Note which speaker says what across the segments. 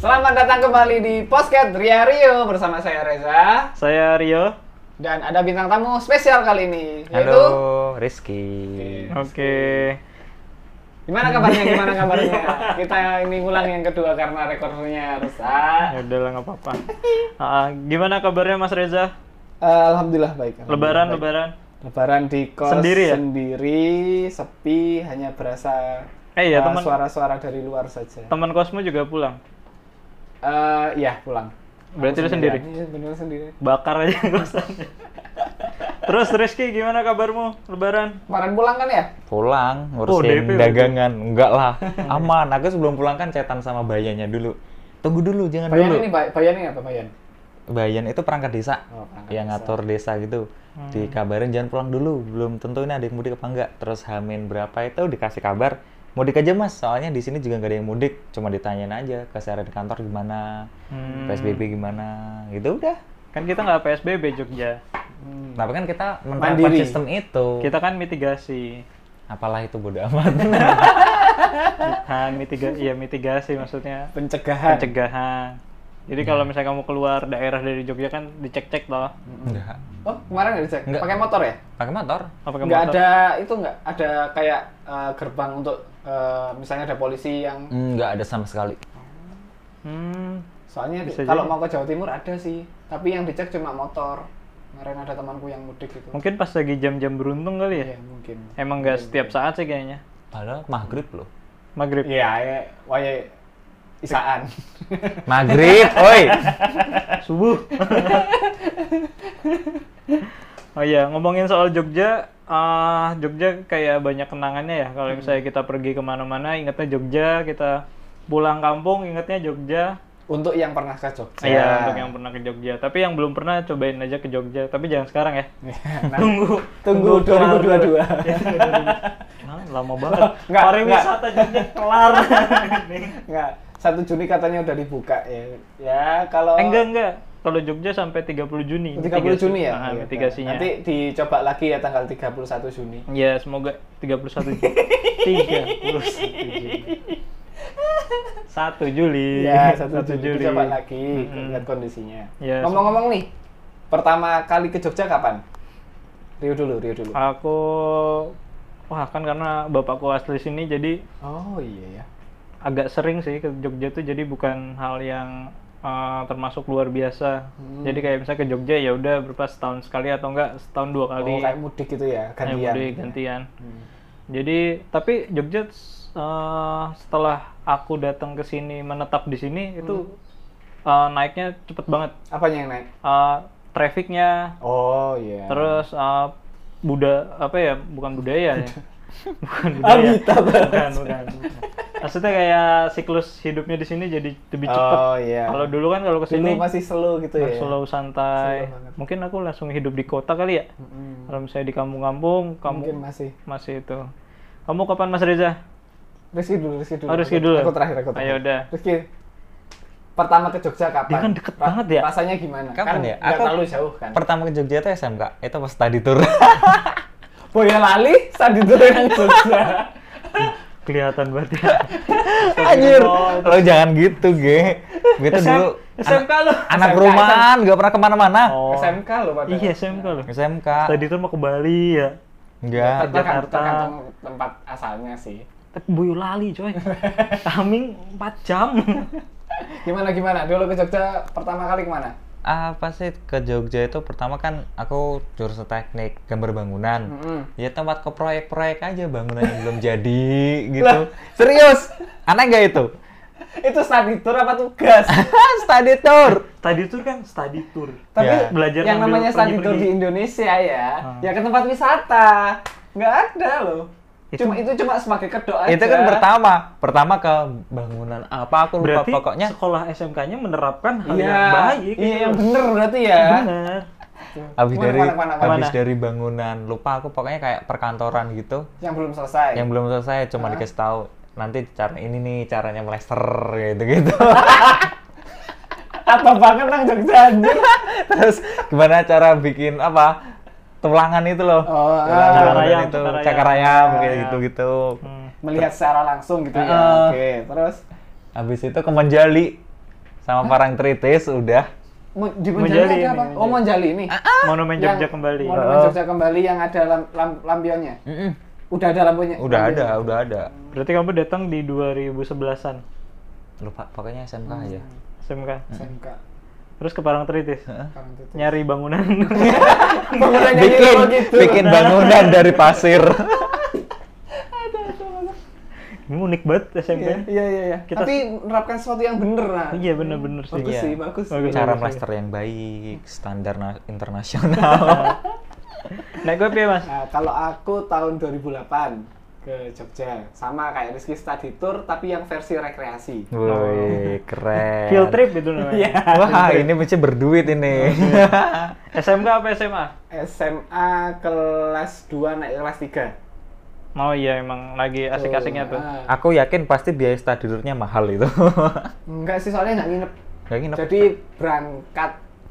Speaker 1: Selamat datang kembali di Posket Ria Rio bersama saya Reza
Speaker 2: Saya Rio.
Speaker 1: dan ada bintang tamu spesial kali ini yaitu
Speaker 3: Halo, Rizky.
Speaker 2: Oke.
Speaker 1: gimana kabarnya gimana kabarnya kita ini ulang yang kedua karena rekornya rusak.
Speaker 2: Ya udah lah nggak apa-apa. Ah, gimana kabarnya Mas Reza?
Speaker 1: Eh, Alhamdulillah baik.
Speaker 2: Lebaran, Lebaran.
Speaker 1: Lebaran di kos
Speaker 2: Sendiri ya?
Speaker 1: sendiri, sepi, hanya berasa
Speaker 2: Eh, iya,
Speaker 1: uh,
Speaker 2: teman-
Speaker 1: suara-suara dari luar saja.
Speaker 2: Teman kosmu juga pulang.
Speaker 1: Eh, ya pulang.
Speaker 2: Berarti lu sendiri.
Speaker 1: Iya, bener sendiri.
Speaker 2: Bakar aja kosannya. Terus Rizky, gimana kabarmu? Lebaran?
Speaker 1: Kemarin pulang kan ya?
Speaker 3: Pulang
Speaker 2: Oh,
Speaker 3: ngurusin
Speaker 2: DP udah.
Speaker 3: dagangan. Enggak lah, aman. Aku sebelum pulang kan cetan sama bayanya dulu. Tunggu dulu, jangan
Speaker 1: Bayan
Speaker 3: dulu.
Speaker 1: ini, Bay- Bayan ini apa Bayan?
Speaker 3: Bayan itu perangkat desa.
Speaker 1: Oh, perangkat
Speaker 3: yang
Speaker 1: desa.
Speaker 3: ngatur desa gitu. Dikabarin jangan pulang dulu, belum tentu ini ada yang mudik apa enggak. Terus hamin berapa itu dikasih kabar. Mudik aja mas, soalnya di sini juga nggak ada yang mudik. Cuma ditanyain aja keseharian di kantor gimana,
Speaker 2: Hmm.
Speaker 3: PSBB gimana, gitu udah.
Speaker 2: Kan kita nggak PSBB Jogja.
Speaker 1: Hmm,
Speaker 3: Tapi kan kita menerapkan
Speaker 1: Mandiri.
Speaker 3: sistem itu.
Speaker 2: Kita kan mitigasi.
Speaker 3: Apalah itu bodo amat.
Speaker 2: Kan mitiga iya mitigasi maksudnya
Speaker 1: Pencegahan.
Speaker 2: pencegahan. Jadi kalau misalnya kamu keluar daerah dari Jogja kan dicek-cek toh.
Speaker 3: Enggak.
Speaker 1: Oh, kemarin nggak dicek?
Speaker 3: Nggak.
Speaker 1: Pakai motor ya?
Speaker 3: Pakai motor.
Speaker 2: Apa kamu
Speaker 1: Nggak
Speaker 2: motor?
Speaker 1: ada itu nggak ada kayak eh, gerbang untuk eh, misalnya ada polisi yang
Speaker 3: Nggak ada sama sekali.
Speaker 2: Hmm.
Speaker 1: soalnya di-
Speaker 2: Bisa
Speaker 1: kalau
Speaker 2: jadi.
Speaker 1: mau ke Jawa Timur ada sih, tapi yang dicek cuma motor. Kemarin ada temanku yang mudik gitu.
Speaker 2: Mungkin pas lagi jam-jam beruntung kali ya.
Speaker 1: Iya, mungkin.
Speaker 2: Emang nggak setiap saat sih kayaknya.
Speaker 3: Padahal maghrib loh.
Speaker 2: Maghrib.
Speaker 1: Iya, ya, wae isaan.
Speaker 3: Maghrib, oi.
Speaker 1: Eh,
Speaker 2: Subuh. oh iya, ngomongin soal Jogja, ah Jogja kayak banyak kenangannya ya.
Speaker 1: Hmm.
Speaker 2: Kalau misalnya kita pergi kemana-mana, ingetnya Jogja. Kita pulang kampung, ingetnya Jogja.
Speaker 1: Untuk yang pernah ke Jogja.
Speaker 2: Iya, untuk yang pernah ke Jogja. Tapi yang belum pernah, cobain aja ke Jogja. Tapi jangan sekarang ya.
Speaker 1: Nah,
Speaker 2: Tunggu.
Speaker 1: tunggu
Speaker 2: kelar dulu.
Speaker 1: 2022.
Speaker 2: Ya, tunggu dulu. Nah, lama banget.
Speaker 1: Nggak,
Speaker 2: Pariwisata Jogja kelar.
Speaker 1: Enggak, 1 Juni katanya udah dibuka ya. Ya, kalau
Speaker 2: Eh, enggak, enggak. Kalau Jogja sampai 30 Juni.
Speaker 1: 30 Juni ya.
Speaker 2: Nah,
Speaker 1: Iya,
Speaker 2: mitigasinya.
Speaker 1: Nanti dicoba lagi ya tanggal 31 Juni.
Speaker 2: Ya, semoga 31 Juli. 31 Juli. 1 Juli.
Speaker 1: Iya, 1
Speaker 2: Satu
Speaker 1: Juni dicoba lagi lihat kondisinya.
Speaker 2: Ya,
Speaker 1: Ngomong-ngomong nih, pertama kali ke Jogja kapan? Rio dulu, Rio dulu.
Speaker 2: Aku wah kan karena bapakku asli sini jadi
Speaker 1: Oh iya ya.
Speaker 2: agak sering sih ke Jogja tuh jadi bukan hal yang eh, termasuk luar biasa.
Speaker 1: Hmm.
Speaker 2: Jadi kayak misalnya ke Jogja ya udah berapa setahun sekali atau enggak setahun dua kali.
Speaker 1: Oh, kayak mudik gitu ya, gantian. Hmm.
Speaker 2: Ayo, Budi, gantian. Jadi tapi Jogja eh, setelah aku datang ke sini menetap di sini
Speaker 1: Hmm.
Speaker 2: itu eh, naiknya cepet banget.
Speaker 1: Apanya yang naik?
Speaker 2: Eh, trafficnya,
Speaker 1: Oh iya.
Speaker 2: terus eh, buda apa ya bukan budaya ya. bukan budaya.
Speaker 1: Habitat.
Speaker 2: Bukan, bukan. Maksudnya kayak siklus hidupnya di sini jadi lebih cepet.
Speaker 1: Oh iya.
Speaker 2: Kalau dulu kan kalau ke
Speaker 1: dulu
Speaker 2: sini
Speaker 1: masih slow gitu ya.
Speaker 2: slow santai.
Speaker 1: Slow banget.
Speaker 2: Mungkin aku langsung hidup di kota kali ya.
Speaker 1: Mm-mm.
Speaker 2: Kalau misalnya di kampung-kampung, kamu
Speaker 1: Hmm, Mungkin masih.
Speaker 2: masih itu. Kamu kapan Mas Reza?
Speaker 1: Rizky dulu, Rizky dulu.
Speaker 2: Oh, Rizky
Speaker 1: Aku-
Speaker 2: dulu.
Speaker 1: Aku terakhir, aku
Speaker 2: Ayo,
Speaker 1: terakhir.
Speaker 2: udah.
Speaker 1: Rizky, pertama ke Jogja kapan?
Speaker 2: Dia kan deket banget ya?
Speaker 1: Rasanya gimana?
Speaker 3: Kapan
Speaker 1: kan
Speaker 3: ya?
Speaker 1: nggak
Speaker 3: Aku-
Speaker 1: terlalu jauh kan?
Speaker 3: Pertama ke Jogja itu SMK. Itu pas tadi tur.
Speaker 1: Boyolali, Sandi dulu yang Jogja.
Speaker 2: Kelihatan banget ya.
Speaker 3: Anjir, lo jangan gitu, ge. Gue tuh
Speaker 2: SM
Speaker 3: dulu
Speaker 2: SMK lo.
Speaker 3: anak
Speaker 1: SMK.
Speaker 3: rumahan, nggak pernah kemana-mana.
Speaker 2: Oh.
Speaker 1: SMK lo pada.
Speaker 2: Iya, SMK lo.
Speaker 3: SMK,
Speaker 2: Tadi tuh mau ke Bali ya.
Speaker 3: enggak.
Speaker 2: Jakarta.
Speaker 1: Tergantung tempat asalnya sih.
Speaker 2: Tapi Boyolali coy. Kaming 4 jam.
Speaker 1: Gimana gimana? Dulu ke Jogja pertama kali kemana?
Speaker 3: Apa sih ke Jogja itu pertama kan aku jurusan teknik gambar bangunan.
Speaker 2: Hmm.
Speaker 1: Mm-mm.
Speaker 3: Ya tempat ke proyek-proyek aja bangunan yang belum jadi gitu. Serius, aneh nggak itu?
Speaker 1: Itu study tour apa tugas?
Speaker 3: Study tour.
Speaker 2: Study tour kan study tour.
Speaker 1: Tapi
Speaker 3: Ya.
Speaker 2: Belajar
Speaker 1: yang
Speaker 2: sambil
Speaker 1: namanya study tour
Speaker 2: pergi-pergi. Ah.
Speaker 1: di Indonesia ya, ya ke tempat wisata. Nggak ada loh.
Speaker 2: Itu-
Speaker 1: Cuma itu cuma sebagai kedok aja.
Speaker 3: Itu kan pertama, pertama ke bangunan apa aku lupa
Speaker 2: Berarti
Speaker 3: pokoknya.
Speaker 2: sekolah SMK-nya menerapkan hal
Speaker 1: Iya,
Speaker 2: yang baik.
Speaker 1: iya
Speaker 2: gitu
Speaker 1: yang
Speaker 2: loh.
Speaker 1: bener berarti ya.
Speaker 2: Bener.
Speaker 3: Habis
Speaker 1: Kemana,
Speaker 3: dari
Speaker 1: kemana, kemana, kemana?
Speaker 3: habis dari bangunan, lupa aku pokoknya kayak perkantoran gitu.
Speaker 1: Yang belum selesai.
Speaker 3: Yang belum selesai cuma dikasih tahu nanti cara ini nih caranya melester gitu-gitu.
Speaker 1: Apa banget nang Jogja anjir.
Speaker 3: Terus gimana cara bikin apa? Tulangan itu loh.
Speaker 1: Oh,
Speaker 3: Tulangan
Speaker 2: Cakar ayam,
Speaker 3: itu,
Speaker 2: cakar ayam.
Speaker 3: cakar ayam
Speaker 2: Cakar
Speaker 3: kayak
Speaker 2: ayam.
Speaker 3: gitu-gitu.
Speaker 2: Hmm.
Speaker 1: melihat secara langsung gitu ya.
Speaker 3: Heeh.
Speaker 1: Oke, terus
Speaker 3: Habis itu ke Menjali sama Parangtritis udah.
Speaker 1: Mo- di Monjali ada
Speaker 2: Monjali ini,
Speaker 1: apa? Oh, Monjali
Speaker 2: Monjali.
Speaker 1: ini.
Speaker 2: Monumen
Speaker 1: Yang-
Speaker 2: Jogja kembali.
Speaker 1: Monumen
Speaker 3: Heeh.
Speaker 1: Jogja kembali yang ada lam- lam- lampionnya.
Speaker 3: Mm-mm.
Speaker 1: Udah ada lampunya.
Speaker 3: Udah ada,
Speaker 1: lampionnya.
Speaker 3: udah ada.
Speaker 2: Berarti kamu datang di 2011-an
Speaker 3: Lupa pokoknya SMK aja.
Speaker 2: SMK.
Speaker 1: SMK.
Speaker 2: Terus ke Parangtritis.
Speaker 1: Sekarang itu.
Speaker 2: Nyari bangunan.
Speaker 1: Bangunannya
Speaker 3: Bikin
Speaker 1: gitu, gitu.
Speaker 3: bikin bangunan dari pasir.
Speaker 2: Ini unik banget SMK.
Speaker 1: Iya, iya, iya. iya.
Speaker 2: Kita-
Speaker 1: Tapi menerapkan sesuatu yang bener lah.
Speaker 2: Iya bener-bener sih.
Speaker 1: Bagus
Speaker 3: Iya.
Speaker 1: sih, bagus. sih.
Speaker 2: Bagus.
Speaker 3: Cara master yang baik, standar na- internasional.
Speaker 2: Naik gue piye mas?
Speaker 1: Nah, kalau aku tahun 2008 ke Jogja sama kayak Rizky study tour tapi yang versi rekreasi.
Speaker 3: Hmm. Woi, keren. Iya.
Speaker 2: Field trip itu namanya.
Speaker 3: Wah, ini mesti berduit ini.
Speaker 2: SMK apa SMA?
Speaker 1: SMA kelas 2 naik kelas 3.
Speaker 2: Oh iya emang lagi asik-asiknya tuh.
Speaker 1: Ah.
Speaker 3: Aku yakin pasti biaya stadionnya mahal itu.
Speaker 1: Enggak sih soalnya nggak nginep.
Speaker 3: Gak nginep.
Speaker 1: Jadi berangkat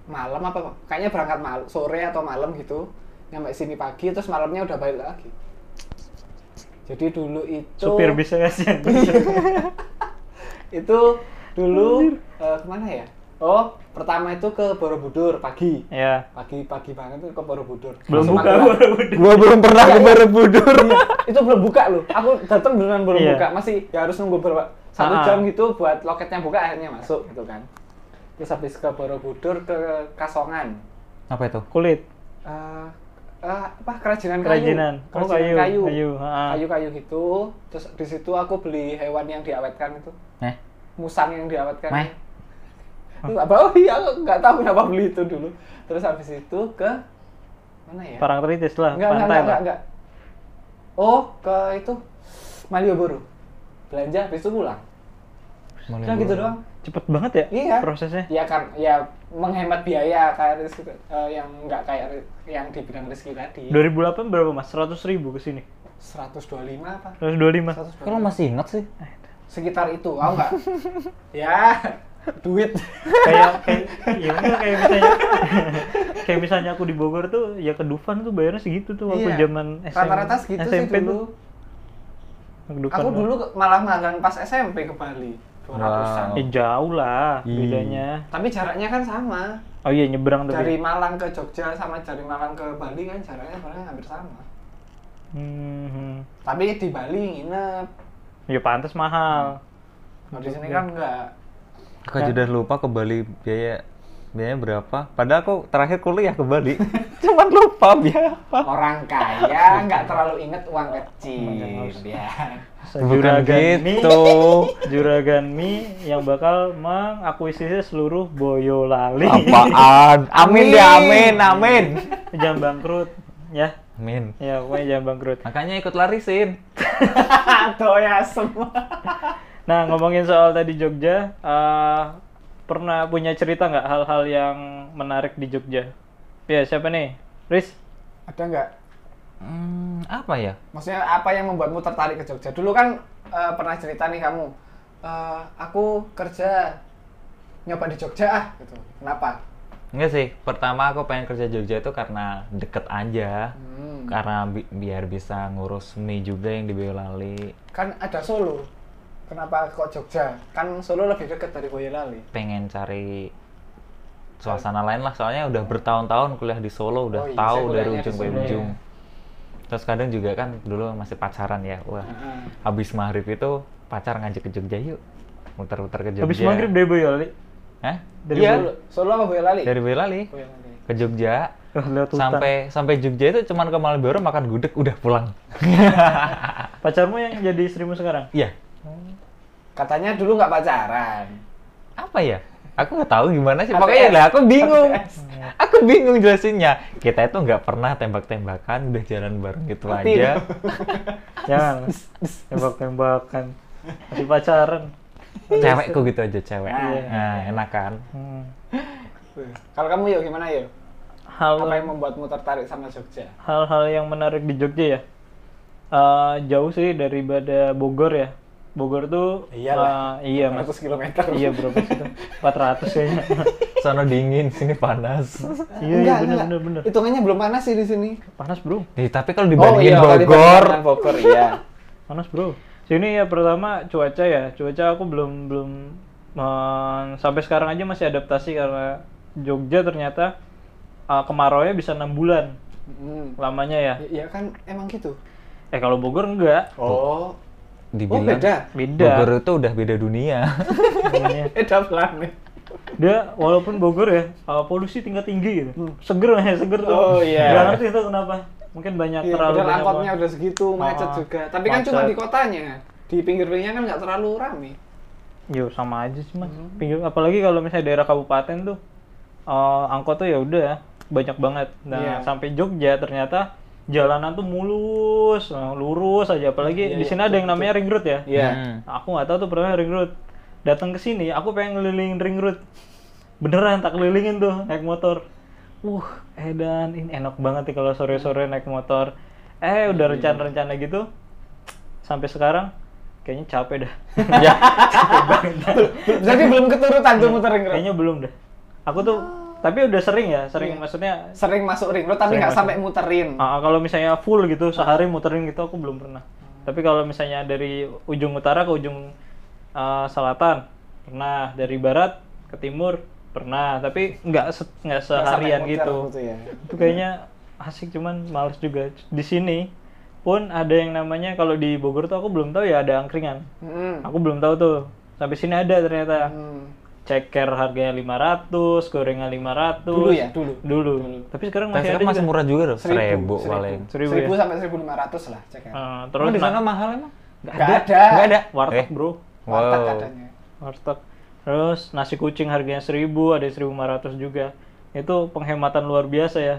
Speaker 1: malam apa Pak? kayaknya berangkat mal sore atau malam gitu nyampe sini pagi terus malamnya udah balik lagi. Jadi dulu itu
Speaker 2: Supir bisa kasihan.
Speaker 1: itu dulu eh, kemana ya? Oh pertama itu ke Borobudur pagi.
Speaker 2: ya.
Speaker 1: pagi-pagi banget tuh ke Borobudur.
Speaker 2: Belum
Speaker 1: Langsung
Speaker 2: buka
Speaker 1: Magelang.
Speaker 2: Borobudur.
Speaker 3: Gua belum pernah ke Borobudur.
Speaker 1: Itu belum buka loh. Aku datang beneran belum
Speaker 2: Iya.
Speaker 1: buka. Masih ya harus nunggu berapa satu
Speaker 2: Ah.
Speaker 1: jam gitu buat loketnya buka akhirnya masuk
Speaker 2: Iya.
Speaker 1: gitu kan. Terus habis ke Borobudur ke Kasongan.
Speaker 3: Apa itu?
Speaker 2: Kulit.
Speaker 1: Eh eh, apa kerajinan,
Speaker 2: Kerajinan.
Speaker 1: kayu.
Speaker 2: Oh,
Speaker 1: Kerajinan
Speaker 2: kayu,
Speaker 1: kayu.
Speaker 2: kayu, ah.
Speaker 1: Kayu-kayu gitu. Terus di situ aku beli hewan yang diawetkan itu.
Speaker 3: Eh,
Speaker 1: musang yang diawetkan.
Speaker 3: Meh.
Speaker 1: Enggak bau ya, aku nggak tahu kenapa beli itu dulu. Terus habis itu ke mana ya?
Speaker 2: Parangtritis lah.
Speaker 1: Enggak, enggak, enggak,
Speaker 2: pantai
Speaker 1: enggak,
Speaker 2: lah.
Speaker 1: enggak. Oh, ke itu Malioboro. Belanja habis itu pulang.
Speaker 3: mau
Speaker 1: Udah
Speaker 3: liburan.
Speaker 1: gitu doang.
Speaker 2: Cepet banget ya
Speaker 1: Iya.
Speaker 2: prosesnya.
Speaker 1: Ya kan ya menghemat biaya kayak Rizky, eh, yang enggak kayak Ri- yang di bidang Rizky tadi.
Speaker 2: 2008 berapa mas? 100 ribu kesini.
Speaker 1: 125 apa? 125.
Speaker 2: 125.
Speaker 3: Kok lo masih inget sih?
Speaker 1: Sekitar itu, aku enggak. ya, duit.
Speaker 2: kayak kayak ya enggak, kayak misalnya kayak misalnya aku di Bogor tuh ya ke Dufan tuh bayarnya segitu tuh waktu
Speaker 1: Iya.
Speaker 2: zaman SM,
Speaker 1: Rata-rata segitu
Speaker 2: SMP
Speaker 1: sih dulu.
Speaker 2: tuh. Ke Dufan
Speaker 1: Aku
Speaker 2: doang.
Speaker 1: dulu ke- malah magang pas SMP ke Bali. 200-an.
Speaker 3: Wow.
Speaker 2: Ya jauh lah
Speaker 3: Ih.
Speaker 2: bedanya.
Speaker 1: Tapi jaraknya kan sama.
Speaker 2: Oh iya nyebrang tapi.
Speaker 1: Dari Malang ke Jogja sama dari Malang ke Bali kan jaraknya sebenarnya hampir sama.
Speaker 2: Hmm, hmm.
Speaker 1: Tapi di Bali nginep.
Speaker 2: Ya pantas mahal.
Speaker 1: Kalau di sini kan enggak.
Speaker 3: Aku aja udah lupa ke Bali biaya biayanya berapa. Padahal aku terakhir kuliah ke Bali. Cuman lupa biaya.
Speaker 1: Orang kaya nggak terlalu inget uang kecil. Ya.
Speaker 3: Bukan
Speaker 2: mie,
Speaker 3: gitu.
Speaker 2: juragan mie yang bakal mengakuisisi seluruh Boyolali.
Speaker 3: Apaan? Amin deh, amin, amin.
Speaker 2: jangan bangkrut ya.
Speaker 3: Amin.
Speaker 2: Ya, pokoknya jangan bangkrut.
Speaker 3: Makanya ikut larisin.
Speaker 1: Doya ya, semua.
Speaker 2: Nah, ngomongin soal tadi Jogja, eh, pernah punya cerita nggak hal-hal yang menarik di Jogja? Ya, siapa nih? Riz?
Speaker 1: Ada nggak?
Speaker 3: Hmm, apa ya?
Speaker 1: Maksudnya apa yang membuatmu tertarik ke Jogja? Dulu kan eh, pernah cerita nih kamu. eh, aku kerja nyoba di Jogja ah gitu. Kenapa?
Speaker 3: Enggak sih. Pertama aku pengen kerja Jogja itu karena deket aja.
Speaker 1: Hmm.
Speaker 3: Karena bi- biar bisa ngurus mie juga yang di Boyolali.
Speaker 1: kan ada Solo. Kenapa kok Jogja? Kan Solo lebih dekat dari Boyolali.
Speaker 3: Pengen cari suasana lain lah. Soalnya udah bertahun-tahun kuliah di Solo, udah
Speaker 1: Oh iya,
Speaker 3: tahu
Speaker 1: saya
Speaker 3: dari
Speaker 1: kuliahnya di
Speaker 3: ujung ke
Speaker 1: Solo, ya.
Speaker 3: ujung. Terus kadang juga kan dulu masih pacaran ya. Wah,
Speaker 1: Hmm.
Speaker 3: habis maghrib itu pacar ngajak ke Jogja yuk. Muter-muter ke Jogja.
Speaker 2: Habis maghrib dari Boyolali?
Speaker 3: Hah?
Speaker 2: Dari
Speaker 3: Iya,
Speaker 1: Solo, Solo apa Boyolali?
Speaker 3: dari Boyolali
Speaker 1: Boyolali.
Speaker 3: ke Jogja.
Speaker 2: Oh, lewat hutan.
Speaker 3: Sampai sampai Jogja itu cuman ke Malioboro makan gudeg udah pulang.
Speaker 2: Pacarmu yang jadi istrimu sekarang?
Speaker 3: Iya.
Speaker 1: Katanya dulu nggak pacaran.
Speaker 3: apa ya? Aku nggak tahu gimana sih.
Speaker 1: ATS.
Speaker 3: Pokoknya lah, aku bingung.
Speaker 1: ATS.
Speaker 3: Aku bingung jelasinnya. Kita itu nggak pernah tembak-tembakan, udah jalan bareng gitu
Speaker 1: Mati
Speaker 3: aja.
Speaker 2: Jangan. Tembak-tembakan. Masih pacaran.
Speaker 3: Cewekku gitu aja cewek.
Speaker 1: Iya.
Speaker 3: Nah, enak kan?
Speaker 2: Hmm.
Speaker 1: Kalau kamu yuk gimana yuk?
Speaker 2: Hal
Speaker 1: Apa yang membuatmu tertarik sama Jogja?
Speaker 2: hal-hal yang menarik di Jogja ya Eh, jauh sih daripada Bogor ya Bogor tuh
Speaker 1: Iyalah.
Speaker 2: eh, iya mas
Speaker 1: 100 kilometer.
Speaker 2: iya berapa sih itu 400 kayaknya
Speaker 3: Sana dingin, sini panas.
Speaker 2: iya iya
Speaker 1: Enggak,
Speaker 2: bener
Speaker 1: enggak.
Speaker 2: bener bener
Speaker 1: Hitungannya belum panas sih di sini. iya,
Speaker 2: panas bro
Speaker 3: Ih, Eh, tapi kalau dibandingin
Speaker 1: Oh, kalau Oh,
Speaker 3: Bogor,
Speaker 1: dibandingkan Bogor iya.
Speaker 2: panas bro Sini ya pertama cuaca ya. Cuaca aku belum belum eh, sampai sekarang aja masih adaptasi karena Jogja ternyata eh, kemarau-nya bisa enam bulan
Speaker 1: Hmm.
Speaker 2: lamanya ya.
Speaker 1: Ya, ya kan emang gitu.
Speaker 2: Eh kalau Bogor enggak.
Speaker 1: Oh. Oh,
Speaker 3: Dibilang
Speaker 1: beda.
Speaker 2: Beda.
Speaker 3: Bogor itu udah beda dunia.
Speaker 2: namanya.
Speaker 1: Beda planet.
Speaker 2: Dia walaupun Bogor ya eh, polusi tingkat tinggi gitu. Seger ya, seger tuh.
Speaker 1: Hmm. Oh, iya.
Speaker 2: Nggak ngerti itu kenapa. Mungkin banyak
Speaker 1: Iya,
Speaker 2: terlalu
Speaker 1: padahal
Speaker 2: banyak
Speaker 1: angkotnya
Speaker 2: orang.
Speaker 1: udah segitu, macet
Speaker 2: Ah,
Speaker 1: juga. Tapi kan cuma
Speaker 2: macet.
Speaker 1: di kotanya. Di pinggir-pinggirnya kan nggak terlalu rame.
Speaker 2: Yo sama aja sih mas.
Speaker 1: Hmm.
Speaker 2: Pinggir- apalagi kalau misalnya daerah kabupaten tuh eh, angkot tuh ya udah banyak banget. Nah
Speaker 1: Iya.
Speaker 2: sampai Jogja ternyata jalanan tuh mulus, eh, lurus aja. Apalagi
Speaker 1: Iya,
Speaker 2: di
Speaker 1: iya,
Speaker 2: sini ada yang namanya ring road ya.
Speaker 1: Iya.
Speaker 3: Hmm.
Speaker 2: Aku nggak tahu tuh pernah ring road. Datang ke sini, aku pengen ngeliling ring road. Beneran tak kelilingin tuh naik motor. Uh, edan, ini enak banget nih kalau sore-sore naik motor. Eh,
Speaker 1: Iya.
Speaker 2: udah rencana-rencana gitu. Sampai sekarang kayaknya capek dah.
Speaker 1: Jadi belum keturutan
Speaker 2: Iya.
Speaker 1: tuh muter ring road.
Speaker 2: Kayaknya belum dah. Aku tuh tapi udah sering ya, sering
Speaker 1: Iya.
Speaker 2: maksudnya
Speaker 1: Sering masuk ring road tapi nggak
Speaker 2: masuk.
Speaker 1: sampai muterin.
Speaker 2: ah, kalau misalnya full gitu sehari muterin gitu aku belum pernah. Tapi kalau misalnya dari ujung utara ke ujung ah, selatan pernah, dari barat ke timur pernah, tapi nggak se- nggak
Speaker 1: Nggak sampai
Speaker 2: seharian
Speaker 1: muter
Speaker 2: gitu.
Speaker 1: ya.
Speaker 2: Itu kayaknya asik cuman males juga. Di sini pun ada yang namanya kalau di Bogor tuh aku belum tahu ya ada angkringan.
Speaker 1: Hmm.
Speaker 2: Aku belum tahu tuh. Sampai sini ada ternyata.
Speaker 1: Hmm.
Speaker 2: ceker harganya 500, gorengan 500.
Speaker 1: Dulu ya, dulu.
Speaker 2: Dulu. Tapi sekarang
Speaker 3: Tapi
Speaker 2: masih ada
Speaker 3: sekarang masih
Speaker 2: juga.
Speaker 3: murah juga loh, seribu
Speaker 1: seribu.
Speaker 3: paling.
Speaker 2: Seribu
Speaker 1: Seribu
Speaker 2: ya?
Speaker 1: sampai seribu lima ratus lah cek ya.
Speaker 2: Eh, terus
Speaker 3: Terus di sana
Speaker 2: nah,
Speaker 3: mahal emang?
Speaker 1: Nggak ada.
Speaker 3: Nggak ada.
Speaker 2: warteg,
Speaker 3: Eh,
Speaker 2: Bro.
Speaker 1: Warteg
Speaker 3: Wow.
Speaker 1: adanya.
Speaker 2: Warteg. Terus nasi kucing harganya 1000, ada 1500 juga. Itu penghematan luar biasa ya.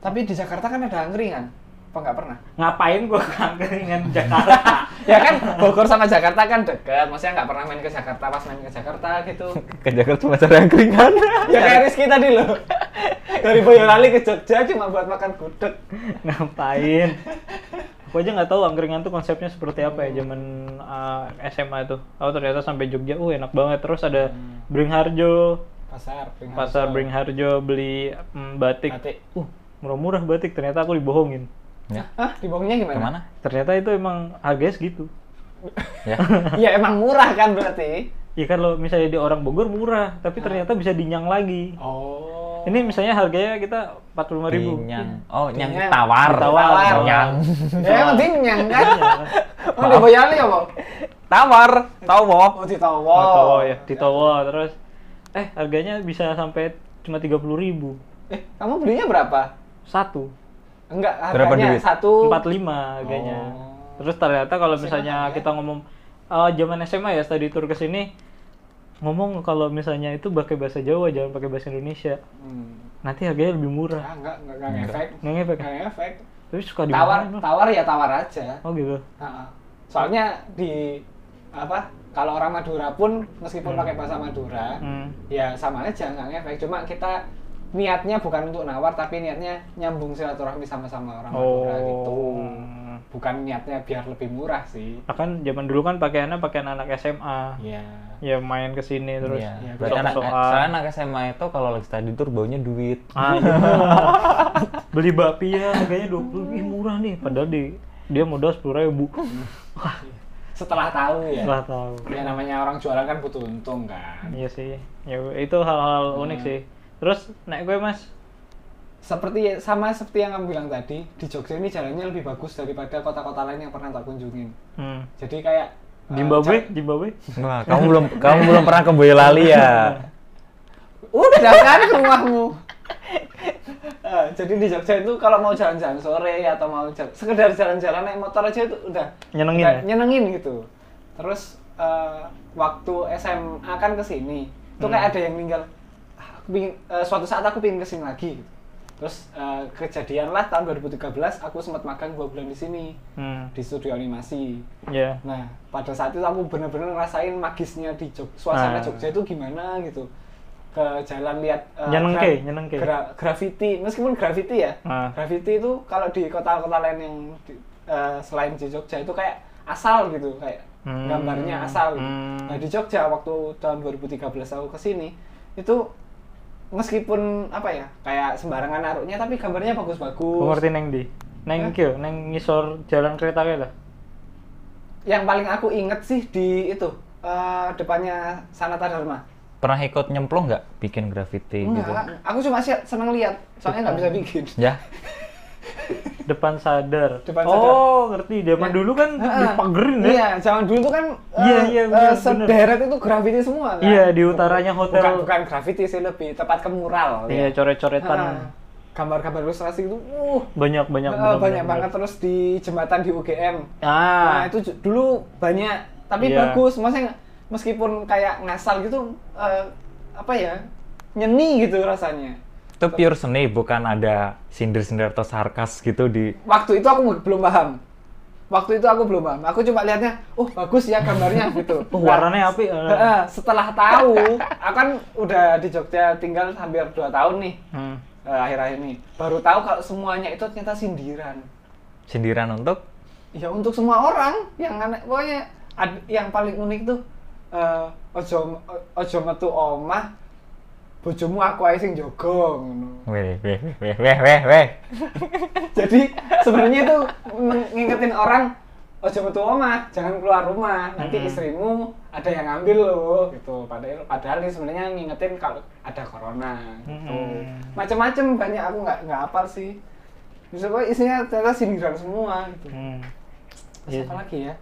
Speaker 1: Tapi di Jakarta kan ada angkringan. Apa nggak pernah?
Speaker 2: Ngapain gua ke angkringan Jakarta?
Speaker 1: ya kan Bogor sama Jakarta kan dekat. Maksudnya nggak pernah main ke Jakarta pas main ke Jakarta gitu.
Speaker 3: Ke Jakarta cuma cari angkringan.
Speaker 1: ya kayak Rizky tadi loh. Dari Boyolali ke Jogja cuma buat makan gudeg.
Speaker 2: Ngapain? Aku aja nggak tahu angkringan tuh konsepnya seperti apa ya zaman uh, SMA itu. Oh ternyata sampai Jogja, uh enak banget. Terus ada Hmm. Bringharjo,
Speaker 1: Pasar. Pringharjo.
Speaker 2: pasar Bringharjo beli mm, batik.
Speaker 1: Batik.
Speaker 2: Uh, murah-murah batik. Ternyata aku dibohongin.
Speaker 3: Ya,
Speaker 1: Hah? Dibohongnya gimana?
Speaker 3: kemana?
Speaker 2: Ternyata itu emang harganya segitu.
Speaker 3: Ya.
Speaker 1: ya emang murah kan berarti.
Speaker 2: Ya kan lo misalnya di orang Bogor murah,
Speaker 1: Ah.
Speaker 2: tapi ternyata bisa dinyang lagi.
Speaker 1: Oh.
Speaker 2: Ini misalnya harganya kita 45.000 ribu.
Speaker 3: Nyang. Oh, nyang
Speaker 1: Nyang.
Speaker 3: tawar.
Speaker 2: Tawar.
Speaker 3: Nyang.
Speaker 1: Ya emang
Speaker 2: Iya.
Speaker 1: dinyang kan. Oh, di Boyolali apa?
Speaker 3: Tawar. Tahu mau?
Speaker 1: Oh, di Towo.
Speaker 2: Ditowo ya,
Speaker 1: Oh.
Speaker 2: ditowo terus eh harganya bisa sampai cuma 30.000
Speaker 1: Eh, kamu belinya berapa?
Speaker 2: Satu.
Speaker 1: Enggak,
Speaker 3: Berapa
Speaker 1: harganya
Speaker 3: duit?
Speaker 1: satu.
Speaker 2: 45 harganya.
Speaker 1: Oh.
Speaker 2: Terus ternyata
Speaker 1: ya?
Speaker 2: kalau misalnya kita ngomong eh, zaman SMA ya study tour ke sini ngomong kalau misalnya itu pakai bahasa Jawa jangan pakai bahasa Indonesia.
Speaker 1: Hmm.
Speaker 2: Nanti harganya lebih murah.
Speaker 1: Ah, enggak, enggak, enggak ngefek.
Speaker 2: Nggak ngefek.
Speaker 1: Nggak ngefek.
Speaker 2: Tapi suka di
Speaker 1: Tawar, tawar ya tawar aja.
Speaker 2: Oh gitu.
Speaker 1: Ha-ha. Soalnya di apa? Kalau orang Madura pun meskipun pakai bahasa Madura,
Speaker 2: Hmm.
Speaker 1: ya sama aja nggak ngefek. Cuma kita niatnya bukan untuk nawar, tapi niatnya nyambung silaturahmi sama-sama orang Madura gitu.
Speaker 2: Oh.
Speaker 1: Bukan niatnya biar lebih murah sih.
Speaker 2: Nah, kan zaman dulu kan pakaiannya pakaian anak SMA.
Speaker 1: Iya.
Speaker 2: Ya main ke sini terus.
Speaker 3: Iya.
Speaker 1: ya,
Speaker 3: Berarti anak,
Speaker 2: sok-sokan.
Speaker 3: soalnya anak SMA itu kalau lagi study tour baunya duit.
Speaker 2: Ah, iya. Beli bakpia harganya 20 Ih, murah nih padahal di dia modal 10.000 ribu.
Speaker 1: Setelah tahu ya.
Speaker 2: Nggak tahu.
Speaker 1: Ya namanya orang jualan kan butuh untung kan.
Speaker 2: Iya sih. Ya itu hal-hal unik sih. Terus naik gue Mas.
Speaker 1: Seperti sama seperti yang kamu bilang tadi, di Jogja ini jalannya lebih bagus daripada kota-kota lain yang pernah tak kunjungin.
Speaker 2: Hmm.
Speaker 1: Jadi kayak eh,
Speaker 2: Zimbabwe, Zimbabwe.
Speaker 3: Wah, kamu belum kamu belum pernah ke Boyolali ya?
Speaker 1: Udah daftar ke rumahmu. Eh, jadi di Jogja itu kalau mau jalan-jalan sore atau mau jalan, sekedar jalan-jalan naik motor aja itu udah
Speaker 2: Nyenengin
Speaker 1: udah
Speaker 2: ya?
Speaker 1: nyenengin gitu. Terus eh, waktu SMA kan ke sini, itu kayak
Speaker 2: Hmm.
Speaker 1: ada yang meninggal. Ah, aku pingin- eh, suatu saat aku pingin kesini lagi. Gitu. Terus eh, kejadian lah tahun 2013 aku sempat magang dua bulan di sini
Speaker 2: Hmm.
Speaker 1: di studio animasi.
Speaker 2: Ya.
Speaker 1: Nah, pada saat itu aku bener-bener ngerasain magisnya di Jog suasana
Speaker 2: Ah.
Speaker 1: Jogja itu gimana gitu. Ke jalan lihat eh,
Speaker 2: Nyenengke,
Speaker 1: gra-
Speaker 2: nyenengke.
Speaker 1: gra- graffiti, meskipun graffiti ya.
Speaker 2: Ah.
Speaker 1: Graffiti itu kalau di kota-kota lain yang di- eh, selain di Jogja itu kayak asal gitu, kayak
Speaker 2: Hmm.
Speaker 1: gambarnya asal. gitu.
Speaker 2: Hmm.
Speaker 1: Nah, di Jogja waktu tahun 2013 aku ke sini itu meskipun apa ya kayak sembarangan naruhnya tapi gambarnya bagus-bagus
Speaker 2: Gue ngerti neng di. Neng kyo, neng ngisor jalan kereta kayak lah.
Speaker 1: yang paling aku inget sih di itu eh, depannya Sanata Dharma.
Speaker 3: Pernah ikut nyemplung nggak bikin graffiti gitu?
Speaker 1: Enggak, aku cuma sih seneng lihat, soalnya nggak bisa bikin.
Speaker 3: Ya,
Speaker 2: Depan sadar.
Speaker 1: Depan
Speaker 2: Oh, ngerti. Zaman dulu kan dipagerin ya.
Speaker 1: Iya, zaman dulu tuh kan eh,
Speaker 2: Iya, iya,
Speaker 1: eh,
Speaker 2: bener,
Speaker 1: sederet itu grafiti semua kan.
Speaker 2: Iya, di utaranya hotel.
Speaker 1: Bukan bukan grafiti sih lebih tepat ke mural.
Speaker 2: Iya,
Speaker 1: ya.
Speaker 2: coret-coretan.
Speaker 1: Ah, Gambar-gambar ilustrasi itu, uh,
Speaker 2: Banyak-banyak
Speaker 1: eh,
Speaker 2: bener-bener.
Speaker 1: banyak banget terus di jembatan di UGM. Nah,
Speaker 2: Ah,
Speaker 1: itu ju- dulu banyak, tapi
Speaker 2: Iya.
Speaker 1: bagus. Maksudnya meskipun kayak ngasal gitu, eh, apa ya, nyeni gitu rasanya.
Speaker 3: itu pure seni, bukan ada sindir-sindir atau sarkas gitu di
Speaker 1: Waktu itu aku belum paham. Waktu itu aku belum paham. Aku cuma lihatnya, oh bagus ya gambarnya gitu.
Speaker 2: oh,
Speaker 1: Nah,
Speaker 2: warnanya api.
Speaker 1: heeh, setelah tahu, aku kan udah di Jogja tinggal hampir 2 tahun nih,
Speaker 2: Hmm.
Speaker 1: eh, akhir-akhir ini. Baru tahu kalau semuanya itu ternyata sindiran.
Speaker 3: sindiran untuk
Speaker 1: ya untuk semua orang yang aneh pokoknya ad- yang paling unik tuh eh, ojo ojo metu omah bojomu aku ae sing jaga ngono.
Speaker 3: weh weh weh weh weh weh.
Speaker 1: Jadi sebenarnya itu meng- ngingetin orang "Oh, ojo metu omah, jangan keluar rumah. Nanti
Speaker 2: Hmm.
Speaker 1: istrimu ada yang ngambil loh gitu. Padahal padahal ini sebenarnya ngingetin kalau ada corona gitu.
Speaker 2: Mm-mm.
Speaker 1: Macem-macem banyak aku nggak nggak hafal sih. Misalnya isinya ternyata sindiran semua gitu.
Speaker 2: Hmm.
Speaker 1: Terus
Speaker 2: Iya
Speaker 1: apa
Speaker 2: sih.
Speaker 1: lagi ya?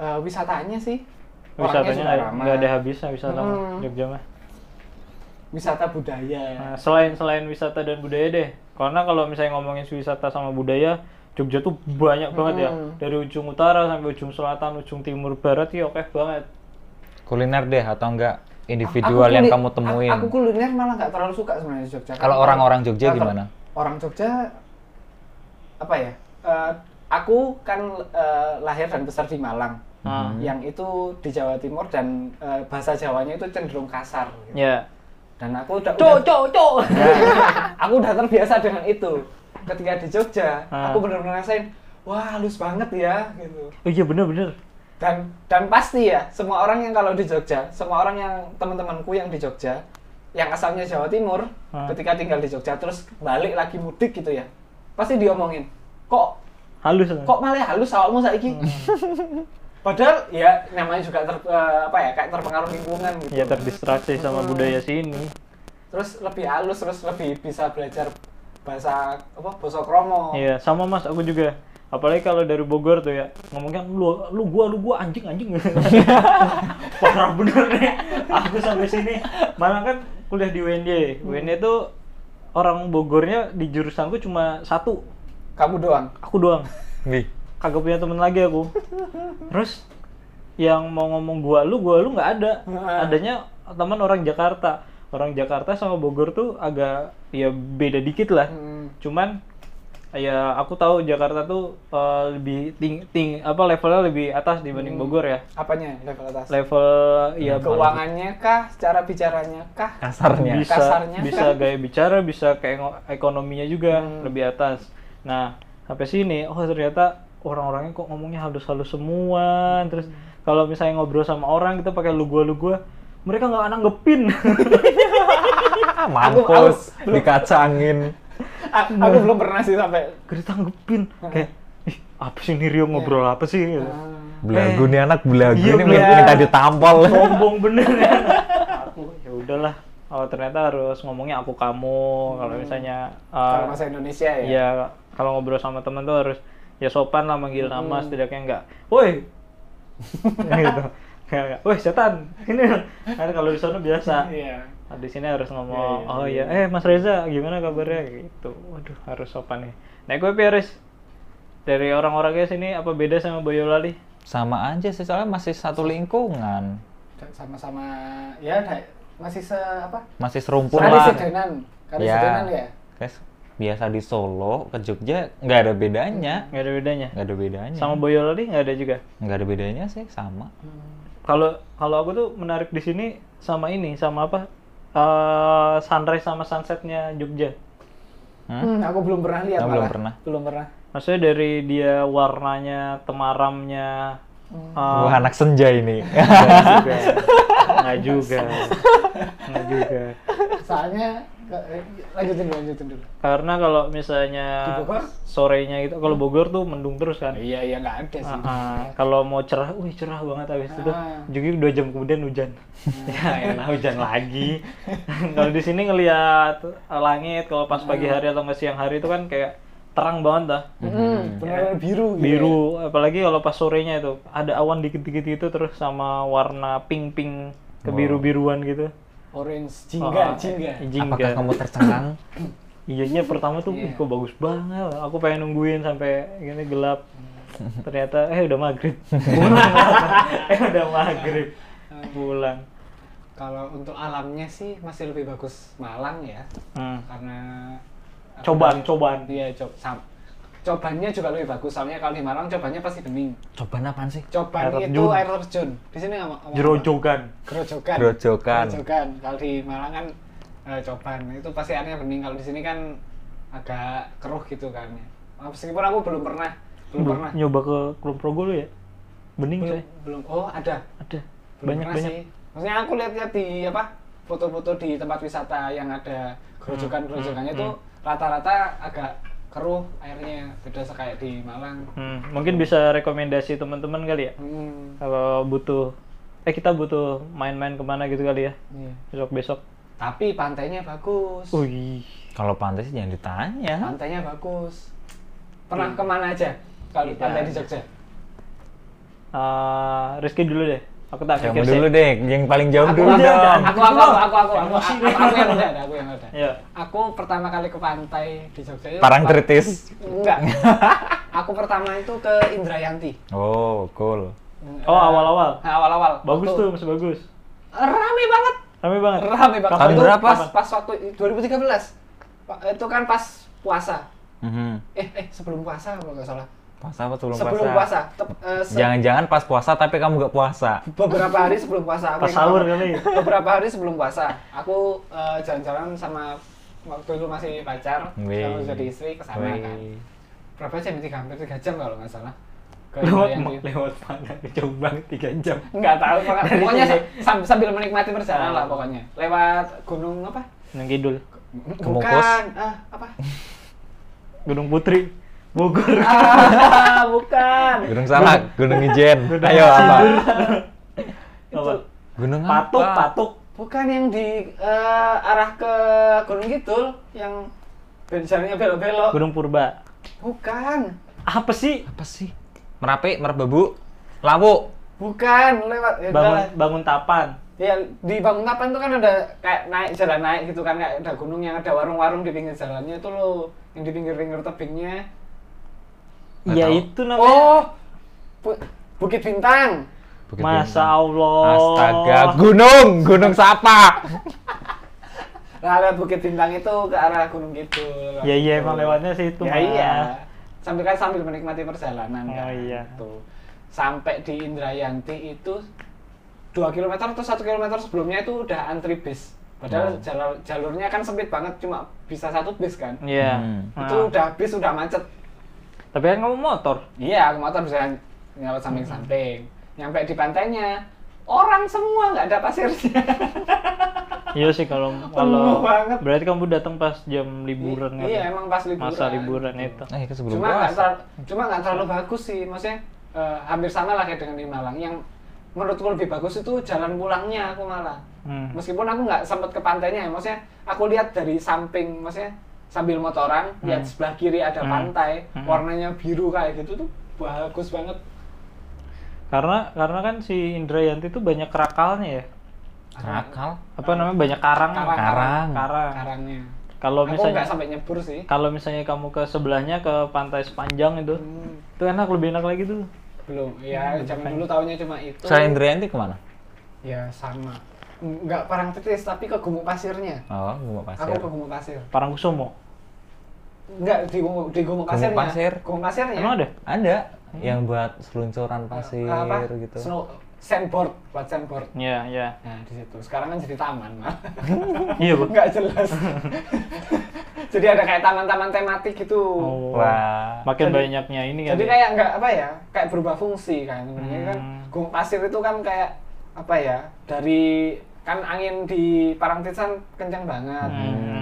Speaker 1: Eh, wisatanya sih. Orangnya
Speaker 2: Wisatanya
Speaker 1: sudah
Speaker 2: nggak-
Speaker 1: ramah.
Speaker 2: nggak ada habisnya wisata mah,
Speaker 1: Hmm.
Speaker 2: Jogja mah.
Speaker 1: Wisata budaya.
Speaker 2: Nah, selain selain wisata dan budaya deh, karena kalau misalnya ngomongin wisata sama budaya, Jogja tuh banyak banget ya.
Speaker 1: Mm-mm.
Speaker 2: Dari ujung utara sampai ujung selatan, ujung timur barat ya oke banget.
Speaker 3: Kuliner deh atau enggak
Speaker 1: Aku
Speaker 3: individual yang
Speaker 1: kuli-
Speaker 3: kamu temuin.
Speaker 1: Aku, aku kuliner malah nggak terlalu suka sebenarnya di Jogja.
Speaker 3: Kalau orang-orang Jogja
Speaker 1: Kalau-
Speaker 3: gimana?
Speaker 1: Orang Jogja apa ya? Eh, aku kan eh, lahir dan besar di Malang.
Speaker 2: Nah,
Speaker 3: Hmm.
Speaker 1: Yang itu di Jawa Timur dan eh, bahasa Jawanya itu cenderung kasar. gitu.
Speaker 2: ya.
Speaker 1: Dan aku udah, udah- Ya.
Speaker 2: Cok, cok, cok.
Speaker 1: aku udah terbiasa dengan itu. Ketika di Jogja,
Speaker 3: Hmm.
Speaker 2: Ah.
Speaker 1: aku benar-benar ngerasain, wah halus banget ya gitu.
Speaker 2: Oh iya bener-bener.
Speaker 1: dan dan pasti ya semua orang yang kalau di Jogja semua orang yang teman-temanku yang di Jogja yang asalnya Jawa Timur
Speaker 2: Hmm.
Speaker 1: ketika tinggal di Jogja terus balik lagi mudik gitu ya pasti diomongin kok
Speaker 2: Halus.
Speaker 1: kok malah halus awakmu saiki
Speaker 2: Hmm.
Speaker 1: padahal ya namanya juga ter, eh, apa ya kayak terpengaruh lingkungan gitu
Speaker 2: Ya terdistraksi
Speaker 1: Hmm.
Speaker 2: sama budaya sini.
Speaker 1: terus lebih halus terus lebih bisa belajar bahasa apa bahasa kromo
Speaker 2: Iya, sama Mas, aku juga. Apalagi kalau dari Bogor tuh ya, ngomongnya lu lu gua lu gua anjing anjing. Parah bener deh. Aku sampai sini. Malah kan kuliah di UNY. UNY itu orang Bogornya di jurusanku cuma satu,
Speaker 1: kamu doang
Speaker 2: aku doang.
Speaker 3: Wih,
Speaker 2: Kagak punya temen lagi aku. Terus yang mau ngomong gua lu gua lu nggak ada.
Speaker 1: Heeh.
Speaker 2: Adanya teman orang Jakarta. Orang Jakarta sama Bogor tuh agak ya beda dikit lah
Speaker 1: Hmm.
Speaker 2: cuman ya aku tahu Jakarta tuh eh, lebih ting ting apa levelnya lebih atas dibanding Bogor ya
Speaker 1: apanya level atas
Speaker 2: level ya
Speaker 1: keuangannya kah cara bicaranya kah
Speaker 3: kasarnya.
Speaker 2: bisa
Speaker 1: kasarnya.
Speaker 2: bisa gaya bicara bisa kayak ngo- ekonominya juga lebih atas nah sampai sini oh ternyata orang-orangnya kok ngomongnya halus-halus semua terus kalau misalnya ngobrol sama orang kita pakai lu gua lu gua mereka nggak nanggepin
Speaker 3: Ah,
Speaker 1: Aku-
Speaker 3: mampus dikacangin.
Speaker 1: A- aku belum pernah sih sampai
Speaker 2: gak ditanggepin kayak ih apa sih ini Rio ngobrol apa sih gitu.
Speaker 1: Ah.
Speaker 3: Belagu nih anak belagu
Speaker 2: Iya,
Speaker 3: ini minta
Speaker 2: belagu.
Speaker 3: minta ditampol.
Speaker 2: sombong bener ya. aku ya udahlah oh ternyata harus ngomongnya aku kamu kalau misalnya uh,
Speaker 1: Hmm. kalau bahasa Indonesia ya.
Speaker 2: ya kalau ngobrol sama teman tuh harus ya sopan lah manggil
Speaker 1: Hmm.
Speaker 2: nama setidaknya enggak woi gitu Nggak, nggak, woi setan ini kan kalau di sana biasa
Speaker 1: Iya.
Speaker 2: Nah, di sini harus
Speaker 1: Iya,
Speaker 2: ngomong
Speaker 1: iya,
Speaker 2: oh ya eh Mas Reza gimana kabarnya gitu waduh harus sopan nih nah gue Piaris dari orang-orangnya sini apa beda sama Boyolali
Speaker 3: Sama aja sih soalnya masih satu lingkungan,
Speaker 1: Dan Sama-sama ya da- masih se apa?
Speaker 3: masih serumpun
Speaker 1: Kali
Speaker 3: lah.
Speaker 1: sedenan. Kali
Speaker 3: Ya.
Speaker 1: sedenan ya.
Speaker 3: Guys, biasa di Solo ke Jogja nggak ada bedanya,
Speaker 2: nggak ada bedanya
Speaker 3: nggak ada
Speaker 1: Iya.
Speaker 3: bedanya.
Speaker 2: sama Boyolali nggak ada juga
Speaker 3: Nggak ada bedanya sih sama.
Speaker 2: kalau kalau aku tuh menarik di sini sama ini sama apa Eh, sunrise sama sunsetnya Jogja
Speaker 1: Hmm, aku belum pernah lihat
Speaker 3: Aku
Speaker 1: malah.
Speaker 3: belum pernah.
Speaker 1: Belum pernah.
Speaker 2: maksudnya dari dia warnanya temaramnya
Speaker 1: Hmm.
Speaker 2: eh,
Speaker 3: Wah anak senja ini.
Speaker 2: nggak juga nggak juga nggak juga
Speaker 1: Soalnya Nggak, eh, lanjutin dulu, lanjutin dulu.
Speaker 2: Karena kalau
Speaker 1: Di
Speaker 2: misalnya
Speaker 1: Bogor?
Speaker 2: sorenya gitu, kalau Bogor tuh mendung terus kan.
Speaker 1: Hmm. Iya, iya nggak ada sih.
Speaker 2: Ah, kalau mau cerah, wih cerah banget habis itu.
Speaker 1: Ah.
Speaker 2: Juga dua jam kemudian hujan.
Speaker 1: Ah,
Speaker 2: ya, elah, hujan lagi. kalau di sini ngelihat eh, langit kalau pas
Speaker 3: Iya.
Speaker 2: pagi hari atau nggak siang hari itu kan kayak terang banget dah.
Speaker 1: Hmm,
Speaker 3: Iya.
Speaker 1: benar-benar biru. gitu ya.
Speaker 2: Biru, apalagi kalau pas sorenya itu ada awan dikit-dikit gitu terus sama warna pink-pink kebiru-biruan gitu.
Speaker 1: Orange, jingga,
Speaker 2: Ah,
Speaker 1: jingga.
Speaker 2: jingga.
Speaker 3: Apakah kamu Iya. tercengang?
Speaker 2: Iyanya iya, pertama tuh, "Ih, kok bagus banget. Aku pengen nungguin sampai gini gelap.
Speaker 3: Hmm.
Speaker 2: Ternyata, eh udah maghrib. Pulang. eh udah maghrib. Pulang.
Speaker 1: Kalau untuk alamnya sih masih lebih bagus Malang ya,
Speaker 2: Hmm.
Speaker 1: karena aku
Speaker 2: Cobaan,
Speaker 1: dari-
Speaker 2: cobaan.
Speaker 1: Iya, cob sam. Cobannya juga lebih bagus. Soalnya kalau di Malang cobannya pasti bening.
Speaker 3: Cobaan apaan sih?
Speaker 1: Coban itu
Speaker 2: Air terjun.
Speaker 1: air terjun. Di sini nggak mau-
Speaker 2: Jerojogan.
Speaker 1: Gerojokan.
Speaker 3: Gerojokan.
Speaker 1: Gerojokan. Kalau di Malang kan eh, coban itu pasti airnya bening. Kalau di sini kan agak keruh gitu kan. Meskipun aku belum pernah, belum
Speaker 2: Belum Iya,
Speaker 1: pernah,
Speaker 2: nyoba ke Kulon Progo lu ya? Bening
Speaker 1: belum,
Speaker 2: saya.
Speaker 1: belum. Oh ada,
Speaker 2: Ada.
Speaker 1: belum
Speaker 2: Banyak
Speaker 1: pernah
Speaker 2: banyak.
Speaker 1: sih. Maksudnya aku lihat-lihat di apa foto-foto di tempat wisata yang ada gerojokan-gerojokannya
Speaker 2: hmm,
Speaker 1: itu rata-rata agak keruh airnya beda kayak di Malang.
Speaker 2: Hmm, mungkin bisa rekomendasi teman-teman kali ya.
Speaker 1: Hmm,
Speaker 2: Kalau butuh eh kita butuh main-main kemana gitu kali ya
Speaker 1: iya.
Speaker 2: besok-besok.
Speaker 1: Tapi pantainya bagus.
Speaker 2: Wih.
Speaker 3: Kalau pantai sih jangan ditanya.
Speaker 1: Pantainya bagus. Pernah kemana aja? Kalau
Speaker 2: Tidak.
Speaker 1: pantai di Jogja.
Speaker 2: Ah, Rizky dulu deh. Aku tak
Speaker 3: Kamu
Speaker 2: mikir sih.
Speaker 3: dulu deh, yang paling jauh
Speaker 1: Aku
Speaker 3: dulu
Speaker 1: aku,
Speaker 3: dong.
Speaker 1: aku aku aku aku aku aku
Speaker 2: Emosi
Speaker 1: aku- aku yang udah ada, aku yang udah.
Speaker 2: Ya.
Speaker 1: Aku pertama kali ke pantai di Jogja itu
Speaker 3: Parang kritis.
Speaker 1: Enggak. Aku pertama itu ke Indrayanti.
Speaker 3: Oh, cool.
Speaker 2: Oh, awal-awal.
Speaker 1: Nah, awal-awal.
Speaker 2: Bagus
Speaker 1: Waktu-
Speaker 2: tuh, masih bagus.
Speaker 1: Rame banget.
Speaker 2: Rame banget.
Speaker 1: Rame banget.
Speaker 3: Tahun
Speaker 1: Waktu
Speaker 3: berapa?
Speaker 1: Pas, pas waktu 2013. Pa- Itu kan pas puasa.
Speaker 3: Mhm.
Speaker 1: Eh, eh sebelum puasa kalau nggak salah.
Speaker 3: Puasa apa sebelum,
Speaker 1: sebelum
Speaker 3: puasa?
Speaker 1: puasa. Tep- eh, se-
Speaker 3: Jangan-jangan pas puasa tapi kamu gak puasa.
Speaker 1: beberapa hari sebelum puasa. aku
Speaker 2: Pas
Speaker 1: ingat
Speaker 2: sahur
Speaker 1: banget.
Speaker 2: kali.
Speaker 1: beberapa hari sebelum puasa aku eh, jalan-jalan sama waktu itu masih pacar
Speaker 3: Wih.
Speaker 1: sama jadi istri ke sana
Speaker 3: Wih.
Speaker 1: kan berapa jam itu hampir tiga jam kalau nggak salah ke
Speaker 2: Lewat
Speaker 1: Indrayanti.
Speaker 2: ma- lewat mana? Jauh banget 3 jam.
Speaker 1: nggak tahu pokoknya- pokoknya
Speaker 2: sini.
Speaker 1: sam- sambil menikmati perjalanan lah pokoknya lewat gunung apa
Speaker 2: Yang kidul.
Speaker 3: Kemukus.
Speaker 1: bukan ah apa
Speaker 2: Gunung Putri. Bogor.
Speaker 1: ah bukan
Speaker 3: Gunung Salak, Gunung Ijen. Ayo apa?
Speaker 1: itu
Speaker 2: Apa?
Speaker 3: Gunung apa?
Speaker 2: Patuk, patuk.
Speaker 1: bukan yang di eh, arah ke gunung kidul yang bencarnya belok-belok
Speaker 2: Gunung Purba.
Speaker 1: bukan
Speaker 2: Apa sih?
Speaker 3: Apa sih? Merapi, Merbabu, Lawu.
Speaker 1: bukan lewat ya,
Speaker 2: Bangun
Speaker 1: udahlah.
Speaker 2: bangun tapan.
Speaker 1: Ya di Banguntapan itu kan ada kayak naik jalan naik gitu kan kayak ada gunung yang ada warung-warung di pinggir jalannya itu loh yang di pinggir-pinggir tebingnya.
Speaker 3: Nggak
Speaker 2: Ya
Speaker 3: tahu.
Speaker 2: itu namanya.
Speaker 1: Oh, Bu- Bukit Bintang.
Speaker 3: Bukit
Speaker 2: Masa
Speaker 3: Bintang.
Speaker 2: Allah.
Speaker 3: Astaga, gunung, gunung Sapa.
Speaker 1: Nah, lewat Bukit Bintang itu ke arah Gunung Kidul.
Speaker 2: Ya iya
Speaker 1: Gitu.
Speaker 2: emang lewatnya sih itu.
Speaker 1: Ya
Speaker 2: Mas.
Speaker 1: iya. Sambil kan sambil menikmati perjalanan
Speaker 2: Oh,
Speaker 1: kan.
Speaker 2: iya.
Speaker 1: Gitu. Sampai di Indrayanti itu 2 km atau 1 km sebelumnya itu udah antri bis. Padahal
Speaker 3: Oh.
Speaker 1: jalur- jalurnya kan sempit banget cuma bisa satu bis kan.
Speaker 2: Iya.
Speaker 3: Hmm.
Speaker 2: Nah,
Speaker 1: Itu udah bis udah macet.
Speaker 2: Tapi kan kamu motor.
Speaker 1: Iya, aku motor bisa nyelot samping-samping. Nyampe di pantainya, orang semua nggak ada pasirnya.
Speaker 2: Iya sih kalau
Speaker 1: Penuh
Speaker 2: kalau
Speaker 1: banget.
Speaker 2: berarti kamu datang pas jam liburan kan?
Speaker 1: Iya, emang pas liburan.
Speaker 2: Masa liburan itu.
Speaker 3: Eh, itu sebelum
Speaker 1: Cuma nggak
Speaker 3: puasa.
Speaker 1: terlalu, cuma nggak terlalu bagus sih, maksudnya eh, hampir sama lah kayak dengan di Malang. Yang menurutku lebih bagus itu jalan pulangnya aku malah.
Speaker 2: Hmm.
Speaker 1: Meskipun aku nggak sempet ke pantainya, ya, maksudnya aku lihat dari samping, maksudnya sambil motoran, lihat sebelah kiri ada
Speaker 2: Hmm.
Speaker 1: pantai,
Speaker 2: Hmm.
Speaker 1: warnanya biru kayak gitu tuh bagus banget.
Speaker 2: Karena karena kan si Indrayanti itu banyak kerakalnya ya.
Speaker 3: Nakal.
Speaker 2: Apa namanya? Banyak karang.
Speaker 1: Karang.
Speaker 3: Karang.
Speaker 2: Karang.
Speaker 1: Karangnya.
Speaker 2: Kalau
Speaker 1: aku
Speaker 2: misalnya
Speaker 1: nggak sampai nyebur sih.
Speaker 2: kalau misalnya kamu ke sebelahnya ke pantai sepanjang itu,
Speaker 1: Hmm,
Speaker 2: itu enak lebih enak lagi tuh.
Speaker 1: belum ya zaman dulu tahunya cuma itu
Speaker 3: Selain Indrianti kemana?
Speaker 1: ya sama nggak parang tetes tapi ke gumuk pasirnya
Speaker 3: Oh, gua
Speaker 1: aku
Speaker 3: pasir.
Speaker 1: ke gumuk pasir
Speaker 2: Parangkusumo.
Speaker 1: nggak di gumuk di
Speaker 3: Gumuk
Speaker 1: gumuk pasirnya
Speaker 3: pasir.
Speaker 1: gumuk pasirnya
Speaker 2: Emang ada?
Speaker 3: Ada yang buat seluncuran pasir
Speaker 1: Hmm. Apa?
Speaker 3: gitu.
Speaker 1: snow sandboard buat sandboard
Speaker 2: Iya, iya.
Speaker 1: nah di situ sekarang kan jadi taman mah
Speaker 2: Iya, Bu.
Speaker 1: nggak jelas jadi ada kayak taman-taman tematik gitu
Speaker 2: Oh.
Speaker 3: Wah.
Speaker 2: Makin
Speaker 1: Jadi-
Speaker 2: banyaknya ini kan.
Speaker 1: jadi
Speaker 2: ya?
Speaker 1: kayak nggak apa ya kayak berubah fungsi kan sebenarnya
Speaker 2: Hmm.
Speaker 1: kan gumuk pasir itu kan kayak apa ya dari kan angin di Parangtrisan kencang banget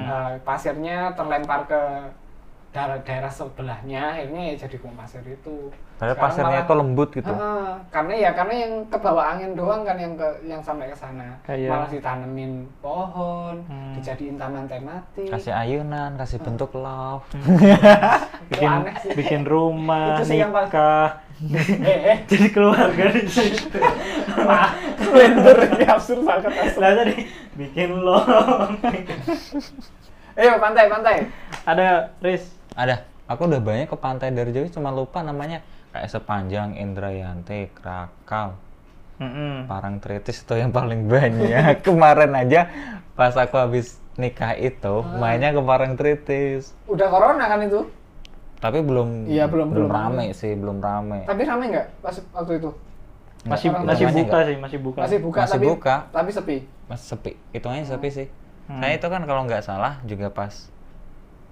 Speaker 1: Eh, pasirnya terlempar ke daerah, daerah sebelahnya akhirnya ya jadi gua pasir itu
Speaker 3: Padahal
Speaker 1: Sekarang
Speaker 3: pasirnya
Speaker 1: malah-
Speaker 3: itu lembut gitu.
Speaker 1: Heeh, karena ya karena yang ke bawah angin doang kan yang ke yang sampai ke sana
Speaker 2: Kayak-
Speaker 1: malah ditanemin pohon
Speaker 2: Hmm.
Speaker 1: dijadiin taman tematik
Speaker 3: Kasih ayunan, kasih bentuk love.
Speaker 1: Itu
Speaker 2: bikin
Speaker 1: aneh sih
Speaker 2: bikin rumah
Speaker 1: Itu sih yang paling-
Speaker 2: nikah
Speaker 1: eh, eh.
Speaker 2: jadi keluarga di situ
Speaker 1: Wah, blender ini absurd banget asli.
Speaker 2: lah tadi bikin lorong
Speaker 1: Ayo pantai pantai.
Speaker 2: ada Riz
Speaker 3: Ada. Aku udah banyak ke pantai dari jauh cuma lupa namanya. Kayak sepanjang Indrayanti, Krakau,
Speaker 2: Mm-mm.
Speaker 3: Parangtritis itu yang paling banyak. Kemarin aja pas aku habis nikah itu mainnya ke Parangtritis.
Speaker 1: Udah corona kan itu?
Speaker 3: Tapi belum
Speaker 1: Iya, belum-
Speaker 3: belum
Speaker 1: belum.
Speaker 3: rame sih, belum rame.
Speaker 1: Tapi ramai nggak pas waktu itu?
Speaker 2: masih
Speaker 1: Orang
Speaker 2: masih
Speaker 3: namanya
Speaker 2: buka
Speaker 3: nggak?
Speaker 2: sih masih buka
Speaker 1: Masih buka
Speaker 3: Masih
Speaker 1: tapi
Speaker 3: buka.
Speaker 1: tapi sepi.
Speaker 3: Masih sepi. Hitungannya sepi sih.
Speaker 2: Hmm.
Speaker 3: Saya itu kan kalau nggak salah juga pas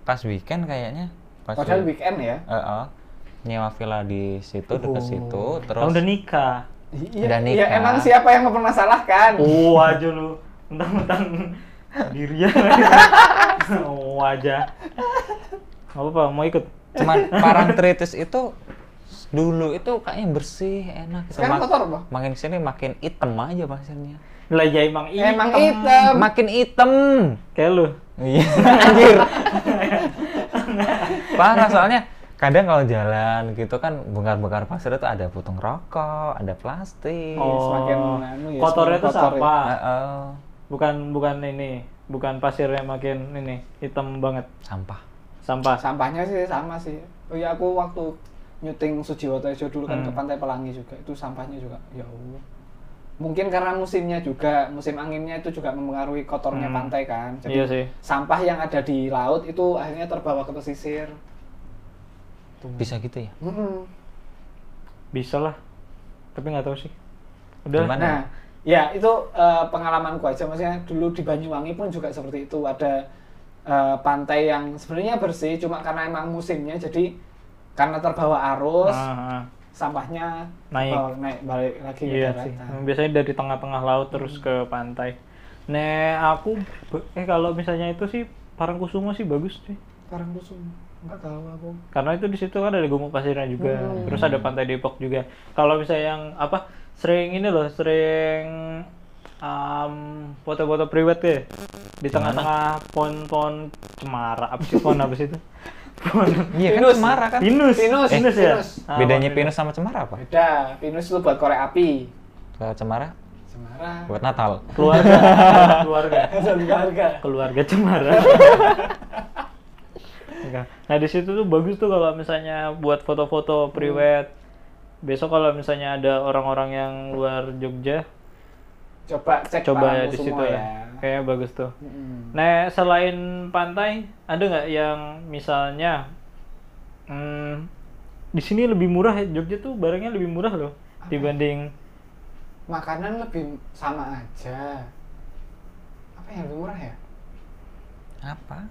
Speaker 3: pas weekend kayaknya. Pas
Speaker 1: Padahal
Speaker 3: week-
Speaker 1: weekend ya.
Speaker 3: Heeh. nyewa villa di situ dekat
Speaker 1: Oh.
Speaker 3: situ terus
Speaker 2: Kamu udah nikah
Speaker 1: I-
Speaker 3: Udah
Speaker 1: Iya,
Speaker 3: nikah.
Speaker 1: iya emang siapa yang mempermasalahkan?
Speaker 2: Oh aja lu, mentang-mentang dirian. oh aja. Gak apa-apa, mau ikut.
Speaker 3: cuman parangtritis itu dulu itu kayaknya bersih enak gitu.
Speaker 1: Sekarang
Speaker 3: Mak-
Speaker 1: kotor, Bang.
Speaker 3: makin sini makin item aja pasirnya
Speaker 2: Lah ya emang ini.
Speaker 1: Emang hitam.
Speaker 3: makin item
Speaker 2: Kayak lu.
Speaker 3: iya anjir parah soalnya kadang kalau jalan gitu kan bongkar-bongkar pasir itu ada putung rokok ada plastik
Speaker 1: Oh. semakin anu ya,
Speaker 2: kotornya
Speaker 1: semakin
Speaker 2: tuh
Speaker 1: kotor ya.
Speaker 2: sampah.
Speaker 3: Heeh.
Speaker 2: Bukan bukan ini, bukan pasirnya makin ini hitam banget.
Speaker 3: sampah
Speaker 2: Sampah.
Speaker 1: Sampahnya sih sama sih. Oh iya aku waktu nyuting Sujiwo Tejo dulu kan
Speaker 2: Hmm.
Speaker 1: ke Pantai Pelangi juga itu sampahnya juga ya Allah. Mungkin karena musimnya juga, musim anginnya itu juga mempengaruhi kotornya
Speaker 2: Hmm.
Speaker 1: pantai kan. Jadi
Speaker 2: Iya sih.
Speaker 1: sampah yang ada di laut itu akhirnya terbawa ke pesisir.
Speaker 3: bisa gitu ya
Speaker 1: Mm-mm.
Speaker 2: Bisa lah. Tapi nggak tahu sih. Udah.
Speaker 3: gimana
Speaker 1: Nah, ya itu eh, pengalamanku aja. Maksudnya dulu di Banyuwangi pun juga seperti itu. Ada eh, pantai yang sebenarnya bersih, cuma karena emang musimnya, jadi karena terbawa arus,
Speaker 2: Ah, ah.
Speaker 1: sampahnya
Speaker 2: Naik.
Speaker 1: terbawa- naik balik lagi ke Nah.
Speaker 2: Iya sih.
Speaker 1: daratan.
Speaker 2: Biasanya dari tengah-tengah laut terus ke pantai. Nek aku be- eh kalau misalnya itu sih Parangkusumo sih bagus sih.
Speaker 1: Sekarang tuh semua nggak tahu aku.
Speaker 2: Karena itu di situ kan ada gumuk pasirnya juga.
Speaker 1: Hmm.
Speaker 2: Terus ada pantai Depok juga. Kalau misalnya yang apa sering ini loh, sering um, foto-foto priwet ya di tengah-tengah pohon-pohon cemara apa sih pohon apa sih itu? Pohon
Speaker 3: iya kan
Speaker 1: Pinus.
Speaker 3: cemara kan
Speaker 2: pinus.
Speaker 1: Pinus,
Speaker 2: pinus ya.
Speaker 1: pinus.
Speaker 2: Ah,
Speaker 3: bedanya
Speaker 2: pohon
Speaker 3: pinus sama cemara apa
Speaker 1: Beda, pinus itu buat korek api.
Speaker 3: kalau cemara
Speaker 1: Semarang.
Speaker 3: buat Natal
Speaker 2: keluarga keluarga
Speaker 1: Dan harga.
Speaker 2: keluarga cemara. Enggak. Nah di situ tuh bagus tuh kalau misalnya buat foto-foto priwet.
Speaker 1: Hmm.
Speaker 2: Besok kalau misalnya ada orang-orang yang luar Jogja,
Speaker 1: Coba cek
Speaker 2: coba ya
Speaker 1: Parangkusumo
Speaker 2: di situ
Speaker 1: ya.
Speaker 2: ya. Kayaknya bagus tuh.
Speaker 1: Mm-mm.
Speaker 2: Nah selain pantai, ada nggak yang misalnya hmm, di sini lebih murah ya Jogja tuh barangnya lebih murah loh dibanding
Speaker 1: makanan lebih sama aja apa yang lebih murah ya
Speaker 3: apa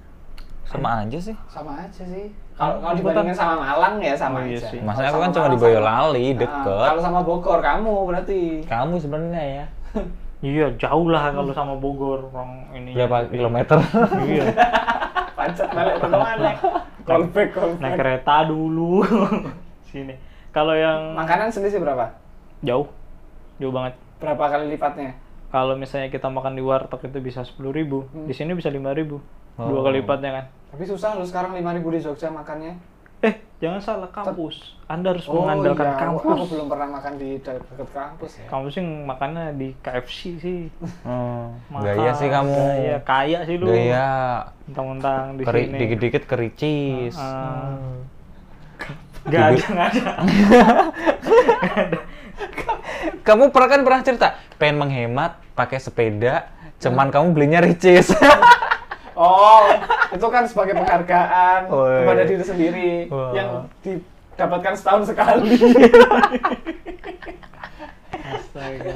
Speaker 3: sama aja sih
Speaker 1: sama aja sih kalau
Speaker 2: Ah,
Speaker 1: kalau dibandingin sama Malang ya sama
Speaker 2: Oh, iya
Speaker 1: aja
Speaker 2: sih.
Speaker 1: Kalau
Speaker 3: Maksudnya aku
Speaker 1: sama
Speaker 3: kan cuma di
Speaker 1: Malang sama-
Speaker 3: Boyolali,
Speaker 1: Ah,
Speaker 3: deket.
Speaker 1: kalau sama Bogor kamu berarti
Speaker 3: Kamu sebenarnya ya.
Speaker 2: iya jauh lah kalau sama Bogor orang ini
Speaker 3: Berapa kilometer?
Speaker 2: iya
Speaker 1: pancet balik ke mana callback
Speaker 2: naik
Speaker 1: callback
Speaker 2: kereta dulu sini kalau yang
Speaker 1: makanan selisih berapa
Speaker 2: jauh jauh banget
Speaker 1: berapa kali lipatnya
Speaker 2: kalau misalnya kita makan di warteg itu bisa sepuluh ribu di sini bisa lima ribu
Speaker 3: Hmm. Oh.
Speaker 2: dua kali lipatnya kan
Speaker 1: tapi susah loh sekarang 5000 di Jogja makannya
Speaker 2: eh jangan salah kampus anda harus mengandalkan
Speaker 1: iya, aku-
Speaker 2: kampus
Speaker 1: aku belum pernah makan di de- deket kampus ya
Speaker 2: kamu sih makannya di KFC sih
Speaker 3: Hmm.
Speaker 2: Mahal,
Speaker 3: Gaya sih kamu.
Speaker 2: gaya kaya sih lu
Speaker 3: Gaya.
Speaker 2: mentang-mentang di
Speaker 3: Keri,
Speaker 2: sini
Speaker 3: dikit-dikit kericis.
Speaker 2: Ah.
Speaker 3: Hmm.
Speaker 2: nggak ada nggak ada
Speaker 3: Kamu pernah kan pernah cerita pengen menghemat pakai sepeda, cuman
Speaker 2: Ah.
Speaker 3: kamu belinya ricis.
Speaker 1: Oh, itu kan sebagai penghargaan
Speaker 3: Woi.
Speaker 1: kepada diri sendiri
Speaker 3: Oh, iya. Wah.
Speaker 1: yang didapatkan setahun sekali.
Speaker 2: Astaga.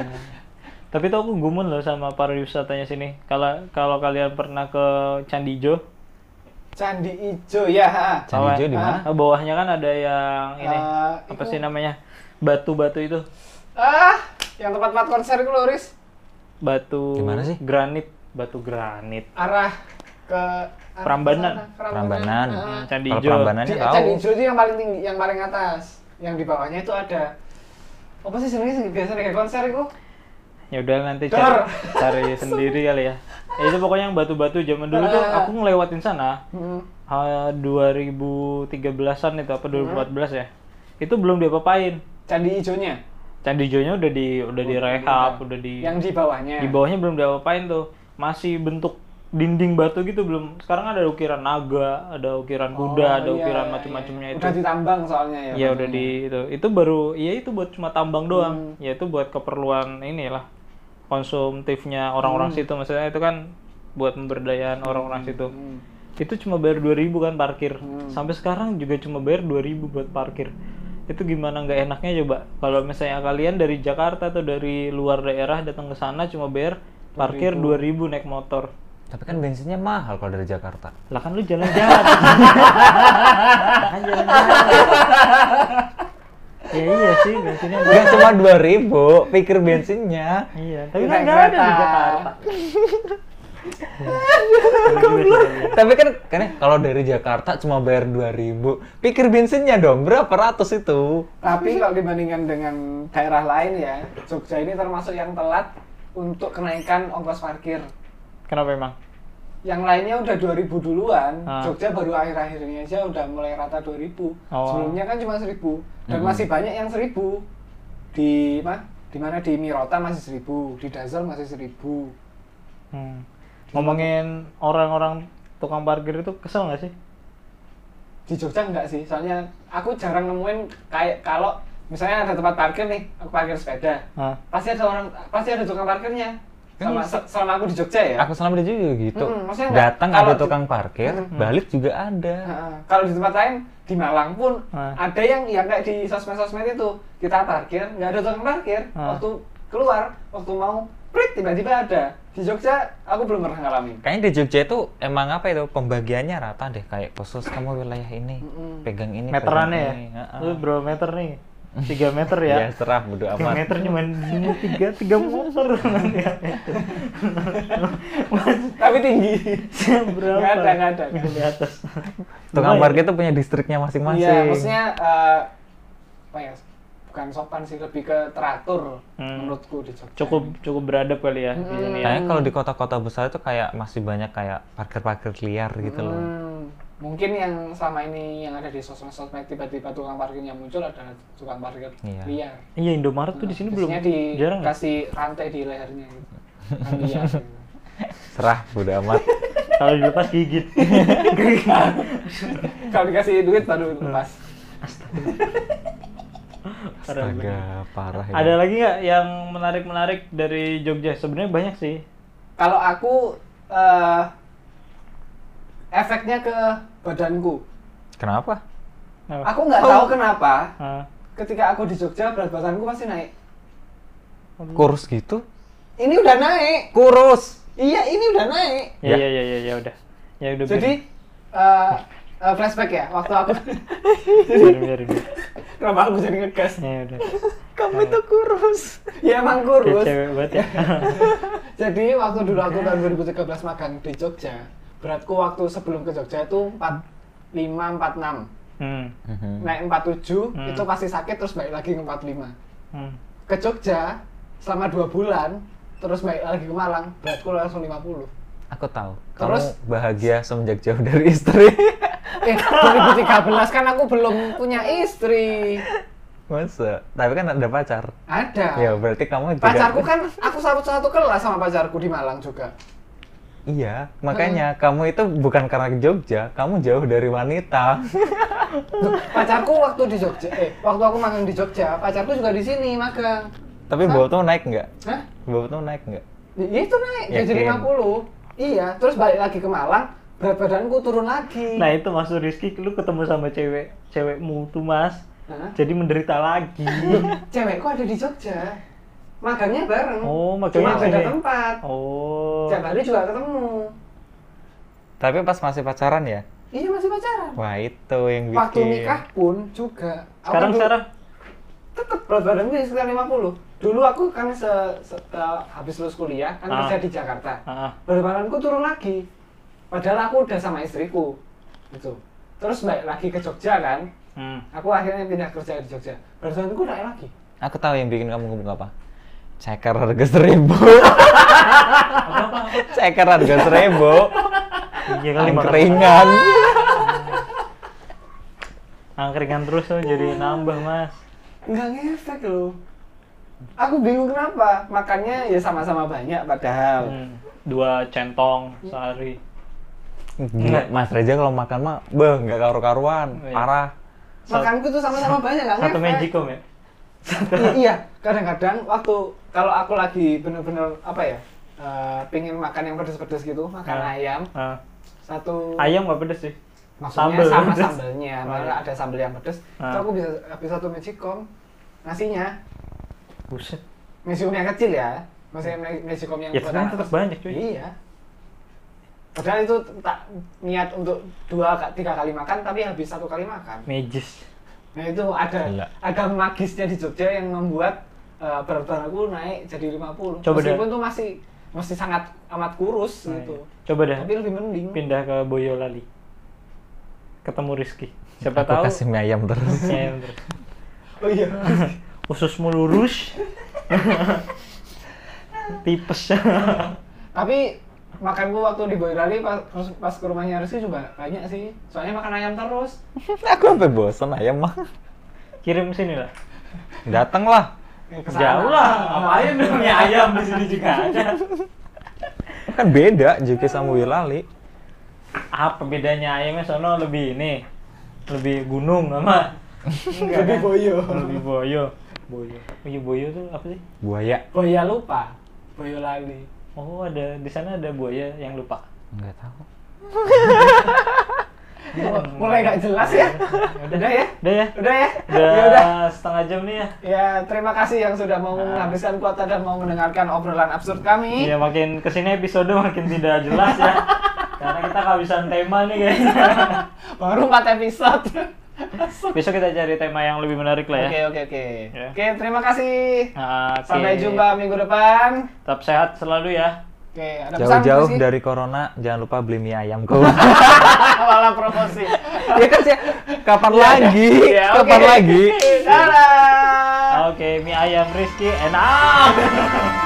Speaker 2: Tapi tuh aku gumun loh sama pariwisatanya sini. Kalau kalau kalian pernah ke Candi Ijo,
Speaker 1: Candi Ijo ya. ha.
Speaker 3: Candi
Speaker 2: Apa?
Speaker 3: Ijo di mana?
Speaker 2: nah, bawahnya kan ada yang ini
Speaker 1: Eh,
Speaker 2: apa
Speaker 1: itu-
Speaker 2: sih namanya? Batu-batu itu.
Speaker 1: Ah, yang tempat tempat konser itu loh, Riz.
Speaker 2: batu
Speaker 3: Gimana sih?
Speaker 2: granit, batu granit.
Speaker 1: arah ke arah
Speaker 2: Prambanan.
Speaker 1: ke sana, Ah,
Speaker 3: Prambanan.
Speaker 1: Heeh.
Speaker 2: Hmm, Candi
Speaker 3: Kalau
Speaker 2: Ijo.
Speaker 3: Prambanannya
Speaker 1: Di-
Speaker 3: tahu.
Speaker 1: Candi Ijo itu yang paling tinggi, yang paling atas. Yang di bawahnya itu ada apa sih sebenarnya sih biasanya kayak konser itu?
Speaker 2: Ya udah nanti
Speaker 1: Dar.
Speaker 2: cari, cari sendiri kali ya. Ya, itu pokoknya yang batu-batu zaman dulu tuh
Speaker 1: Ah.
Speaker 2: aku ngelewatin sana
Speaker 1: Hmm.
Speaker 2: ah, 2013-an itu apa 2014 ya. Itu belum diapa-apain.
Speaker 1: Candi Ijonya.
Speaker 2: Candi Ijonya udah di udah direhab, udah di
Speaker 1: Yang di bawahnya.
Speaker 2: di bawahnya belum diapa-apain tuh. Masih bentuk dinding batu gitu belum. Sekarang ada ukiran naga, ada ukiran kuda,
Speaker 1: Oh,
Speaker 2: ada
Speaker 1: iya,
Speaker 2: ukiran
Speaker 1: iya,
Speaker 2: macam-macamnya
Speaker 1: iya.
Speaker 2: itu.
Speaker 1: Udah ditambang soalnya ya.
Speaker 2: Iya
Speaker 1: batunya.
Speaker 2: udah di itu. Itu baru ya itu buat cuma tambang
Speaker 1: Hmm.
Speaker 2: doang. Ya itu buat keperluan inilah konsumtifnya orang-orang situ maksudnya itu kan buat pemberdayaan orang-orang situ.
Speaker 1: Hmm.
Speaker 2: Itu cuma bayar 2000 kan parkir. Sampai sekarang juga cuma bayar 2000 buat parkir. Itu gimana nggak enaknya coba kalau misalnya kalian dari Jakarta atau dari luar daerah datang ke sana cuma bayar parkir 2000 naik motor.
Speaker 3: Tapi kan bensinnya mahal kalau dari Jakarta.
Speaker 2: Lah kan lu jalan-jalan. kan jalan-jalan. ya iya sih bensinnya
Speaker 3: Gak cuma 2000, pikir bensinnya.
Speaker 2: Iya, tapi
Speaker 1: Naik
Speaker 2: kan nggak ada di
Speaker 1: kereta.
Speaker 2: Jakarta.
Speaker 3: Tapi kan karena kalau dari Jakarta cuma bayar 2000, pikir bensinnya dong berapa ratus itu?
Speaker 1: Tapi kalau dibandingkan dengan daerah lain ya, Jogja ini termasuk yang telat untuk kenaikan ongkos parkir.
Speaker 2: Kenapa emang?
Speaker 1: Yang lainnya udah 2000 duluan,
Speaker 2: Ah.
Speaker 1: Jogja baru akhir-akhir ini aja udah mulai rata 2000.
Speaker 2: Oh.
Speaker 1: Sebelumnya kan cuma 1000 dan masih banyak yang 1000. Di mah di mana di Mirota masih 1000, di Dazzle masih 1000.
Speaker 2: Hmm. Ngomongin orang-orang tukang parkir itu kesel nggak sih?
Speaker 1: di Jogja enggak sih soalnya aku jarang nemuin kayak kalau misalnya ada tempat parkir nih aku parkir sepeda
Speaker 2: Hah?
Speaker 1: pasti ada orang pasti ada tukang parkirnya
Speaker 3: Kan
Speaker 1: selama,
Speaker 3: bisa-
Speaker 1: selama aku di Jogja ya
Speaker 3: Aku selama di juga gitu.
Speaker 1: Mm, maksudnya nggak-
Speaker 3: Datang
Speaker 1: kalau
Speaker 3: ada
Speaker 1: di-
Speaker 3: tukang parkir, balik juga ada.
Speaker 1: Heeh. kalau di tempat lain di Malang pun
Speaker 2: Ah.
Speaker 1: ada yang yang kayak di sosmed-sosmed itu kita parkir nggak ada tukang parkir
Speaker 2: Ah.
Speaker 1: waktu keluar waktu mau prit tiba-tiba ada di Jogja aku belum pernah ngalamin
Speaker 3: Kayaknya di Jogja itu emang apa itu pembagiannya rata deh kayak khusus kamu wilayah ini, pegang ini,
Speaker 2: Meterannya ya?
Speaker 3: pegang ini. Heeh.
Speaker 2: Lu berapa meter nih? 3 meter ya?
Speaker 3: Ya, serah bodo
Speaker 2: Tiga
Speaker 3: amat.
Speaker 2: meter cuma tiga tiga motor
Speaker 1: tapi tinggi
Speaker 2: berapa?
Speaker 1: Nggak ada, nggak ada.
Speaker 2: Udah Di atas.
Speaker 3: Tukang
Speaker 2: Lumayan.
Speaker 3: parkir itu punya distriknya masing-masing.
Speaker 1: Iya, maksudnya eh, apa ya? Bukan sopan sih, lebih ke teratur
Speaker 2: Hmm.
Speaker 1: menurutku di Jogja.
Speaker 2: cukup cukup beradab kali ya di sini ya.
Speaker 3: Kayaknya kalau di kota-kota besar itu kayak masih banyak kayak parkir-parkir liar gitu loh.
Speaker 1: Hmm, mungkin yang selama ini yang ada di sosmed-sosmed tiba-tiba tukang parkirnya muncul adalah tukang parkir
Speaker 3: Iya.
Speaker 1: liar.
Speaker 2: Iya Indomaret tuh di sini belum
Speaker 1: Biasanya
Speaker 2: jarang ya?
Speaker 1: dikasih rantai di lehernya gitu. Kan liar, gitu.
Speaker 3: Serah bodo amat.
Speaker 2: Kalau dilepas gigit.
Speaker 1: Kalau dikasih duit
Speaker 2: Hmm.
Speaker 1: baru lepas.
Speaker 3: Astaga, parah
Speaker 2: Ada lagi nggak yang menarik-menarik dari Jogja? Sebenarnya banyak sih.
Speaker 1: Kalau aku eh, efeknya ke badanku.
Speaker 3: Kenapa?
Speaker 2: Apa?
Speaker 1: Aku nggak tahu kenapa
Speaker 2: Ah.
Speaker 1: ketika aku di Jogja berat badanku pasti naik.
Speaker 3: Kurus gitu?
Speaker 1: Ini udah naik.
Speaker 3: Kurus.
Speaker 1: Iya, ini udah naik.
Speaker 2: Ya
Speaker 3: Ya.
Speaker 2: ya ya ya ya udah. Ya udah.
Speaker 1: Jadi eh eh, flashback ya waktu aku
Speaker 2: biarin, biarin, biarin.
Speaker 1: kenapa aku jadi ngegas?
Speaker 2: Ya udah.
Speaker 3: Kamu itu kurus.
Speaker 1: Ya emang
Speaker 2: Kayak
Speaker 1: kurus.
Speaker 2: cewek banget ya.
Speaker 1: Jadi waktu dulu aku tahun 2013 magang di Jogja, beratku waktu sebelum ke Jogja itu 45 46.
Speaker 2: hmm.
Speaker 3: Mhm.
Speaker 1: Naik 47
Speaker 2: Hmm.
Speaker 1: itu pasti sakit terus balik lagi ke 45.
Speaker 2: hmm.
Speaker 1: Ke Jogja selama dua bulan terus balik lagi ke Malang, beratku langsung 50.
Speaker 3: Aku tahu.
Speaker 1: Terus?
Speaker 3: Kamu bahagia semenjak jauh dari istri.
Speaker 1: Eh, 2013 kan aku belum punya istri.
Speaker 3: Masa? Tapi kan ada pacar.
Speaker 1: Ada.
Speaker 3: Ya
Speaker 2: Iya,
Speaker 3: berarti kamu juga-
Speaker 1: Pacarku kan aku satu satu kelas sama pacarku di Malang juga.
Speaker 3: Iya,
Speaker 1: Hmm.
Speaker 3: makanya kamu itu bukan karena ke Jogja, kamu jauh dari wanita.
Speaker 1: Pacarku waktu di Jogja, eh waktu aku magang di Jogja, pacarku juga di sini magang.
Speaker 3: Tapi bobot tuh naik nggak?
Speaker 1: Hah?
Speaker 3: Bobot tuh naik nggak?
Speaker 1: Ya itu naik jadi
Speaker 3: Yakin?
Speaker 1: 50. Iya, terus balik lagi ke Malang, berat badanku turun lagi.
Speaker 2: Nah itu masuk Rizky, lu ketemu sama cewek cewekmu tuh mas.
Speaker 1: Hah?
Speaker 2: Jadi menderita lagi.
Speaker 1: Cewekku ada di Jogja. Magangnya bareng.
Speaker 2: Oh, magangnya
Speaker 1: Cuma beda
Speaker 2: sini.
Speaker 1: tempat.
Speaker 2: Oh.
Speaker 1: Tiap hari juga ketemu.
Speaker 3: Tapi pas masih pacaran ya?
Speaker 1: Iya masih pacaran.
Speaker 3: Wah itu yang bikin.
Speaker 1: Waktu nikah pun juga. Aku
Speaker 2: Sekarang
Speaker 1: kan dulu-
Speaker 2: sekarang
Speaker 1: tetep berat badanku ya sekitar 50. Dulu aku kan se, se- eh, habis lulus kuliah kan
Speaker 2: Ah.
Speaker 1: kerja di Jakarta.
Speaker 2: Ah, ah.
Speaker 1: Berat badanku turun lagi. Padahal aku udah sama istriku. Gitu. Terus balik lagi ke Jogja kan.
Speaker 2: Hmm.
Speaker 1: Aku akhirnya pindah kerja di Jogja. Berat badanku naik lagi.
Speaker 3: Aku tahu yang bikin kamu ngomong apa. Ceker harga seribu. Ceker harga seribu.
Speaker 2: Iya kali makan.
Speaker 3: Angkringan.
Speaker 1: Ah.
Speaker 2: Angkringan terus tuh jadi nambah mas.
Speaker 1: Nggak ngefek loh. Aku bingung kenapa. Makannya ya sama-sama banyak padahal.
Speaker 2: Hmm. Dua centong sehari.
Speaker 3: Gila, Mas Reza kalau makan mah, beh, nggak karu-karuan,
Speaker 1: Oh,
Speaker 2: Iya.
Speaker 3: parah.
Speaker 2: Sat-
Speaker 1: Makanku tuh sama-sama banyak nggak ngefek.
Speaker 2: Satu magicom ya.
Speaker 1: I- iya kadang-kadang waktu kalau aku lagi bener-bener apa ya eh, pengen makan yang pedes-pedes gitu makan
Speaker 2: Ah.
Speaker 1: ayam
Speaker 2: Ah.
Speaker 1: satu
Speaker 2: Ayam nggak pedes sih.
Speaker 1: maksudnya
Speaker 2: sambel,
Speaker 1: sama
Speaker 2: pedes.
Speaker 1: sambelnya
Speaker 2: Oh,
Speaker 1: malah
Speaker 2: iya.
Speaker 1: ada sambel yang pedes
Speaker 2: Ah.
Speaker 1: itu aku bisa habis satu magicom nasinya
Speaker 2: Buset.
Speaker 1: magicom yang kecil ya maksudnya ma- magicom yang
Speaker 2: Ya
Speaker 1: buat
Speaker 2: ternyata
Speaker 1: anak.
Speaker 2: tetap banyak cuy.
Speaker 1: iya padahal itu tak niat untuk dua ka- tiga kali makan tapi habis satu kali makan
Speaker 2: Magis.
Speaker 1: Nah itu ada
Speaker 3: Gila.
Speaker 1: ada magisnya di Jogja yang membuat eh, berat badan aku naik jadi 50.
Speaker 2: Coba deh.
Speaker 1: Meskipun itu masih masih sangat amat kurus
Speaker 2: Nah,
Speaker 1: gitu.
Speaker 2: iya. Coba dah
Speaker 1: Tapi lebih mending.
Speaker 2: pindah ke Boyolali. Ketemu Rizky. Siapa
Speaker 3: Aku
Speaker 2: tahu. Iya,
Speaker 3: kasih mie ayam terus.
Speaker 2: Ayam terus.
Speaker 1: Oh iya.
Speaker 2: Ususmu lurus. Tipes.
Speaker 1: Tapi makanku waktu di Boyolali pas, pas ke rumahnya Rizky juga banyak sih. Soalnya makan ayam terus.
Speaker 3: aku sampai bosen ayam mah.
Speaker 2: Kirim sini lah.
Speaker 3: Dateng lah.
Speaker 1: Eh, kesana.
Speaker 2: Jauh lah. Ngapain dong ya ayam di sini juga ada.
Speaker 3: Kan beda Juki sama Boyolali.
Speaker 2: Apa bedanya ayamnya sono lebih ini? Lebih gunung nama.
Speaker 1: Lebih boyo.
Speaker 2: Lebih boyo. Boyo. Oh iya boyo tuh apa sih?
Speaker 3: Buaya.
Speaker 1: Boya lupa. Boyolali.
Speaker 2: Oh ada di sana ada buaya yang lupa.
Speaker 3: Nggak tahu.
Speaker 1: Mulai nggak jelas ya. Udah ya.
Speaker 2: Udah ya.
Speaker 1: Udah ya.
Speaker 2: Udah,
Speaker 1: Ya udah.
Speaker 2: setengah jam nih ya.
Speaker 1: Ya, terima kasih yang sudah mau
Speaker 2: Nah.
Speaker 1: menghabiskan kuota dan mau mendengarkan obrolan absurd kami.
Speaker 2: Iya makin kesini episode makin tidak jelas ya. Karena kita kehabisan tema nih kayaknya.
Speaker 1: Baru 4 episode.
Speaker 2: Besok kita cari tema yang lebih menarik lah ya.
Speaker 1: Oke, oke, oke.
Speaker 2: Ya.
Speaker 1: Oke, terima kasih.
Speaker 2: Nah, oke.
Speaker 1: Sampai jumpa minggu depan.
Speaker 2: Tetap sehat selalu ya.
Speaker 1: Oke, ada pesan
Speaker 3: Jauh-jauh
Speaker 1: nggak sih?
Speaker 3: dari corona, jangan lupa beli mie ayam kau.
Speaker 1: malah promosi.
Speaker 3: ya kan sih, kapan lagi?
Speaker 1: Ya, oke. Iya.
Speaker 3: kapan lagi?
Speaker 1: Dadah.
Speaker 2: Oke, mie ayam Rizky enak.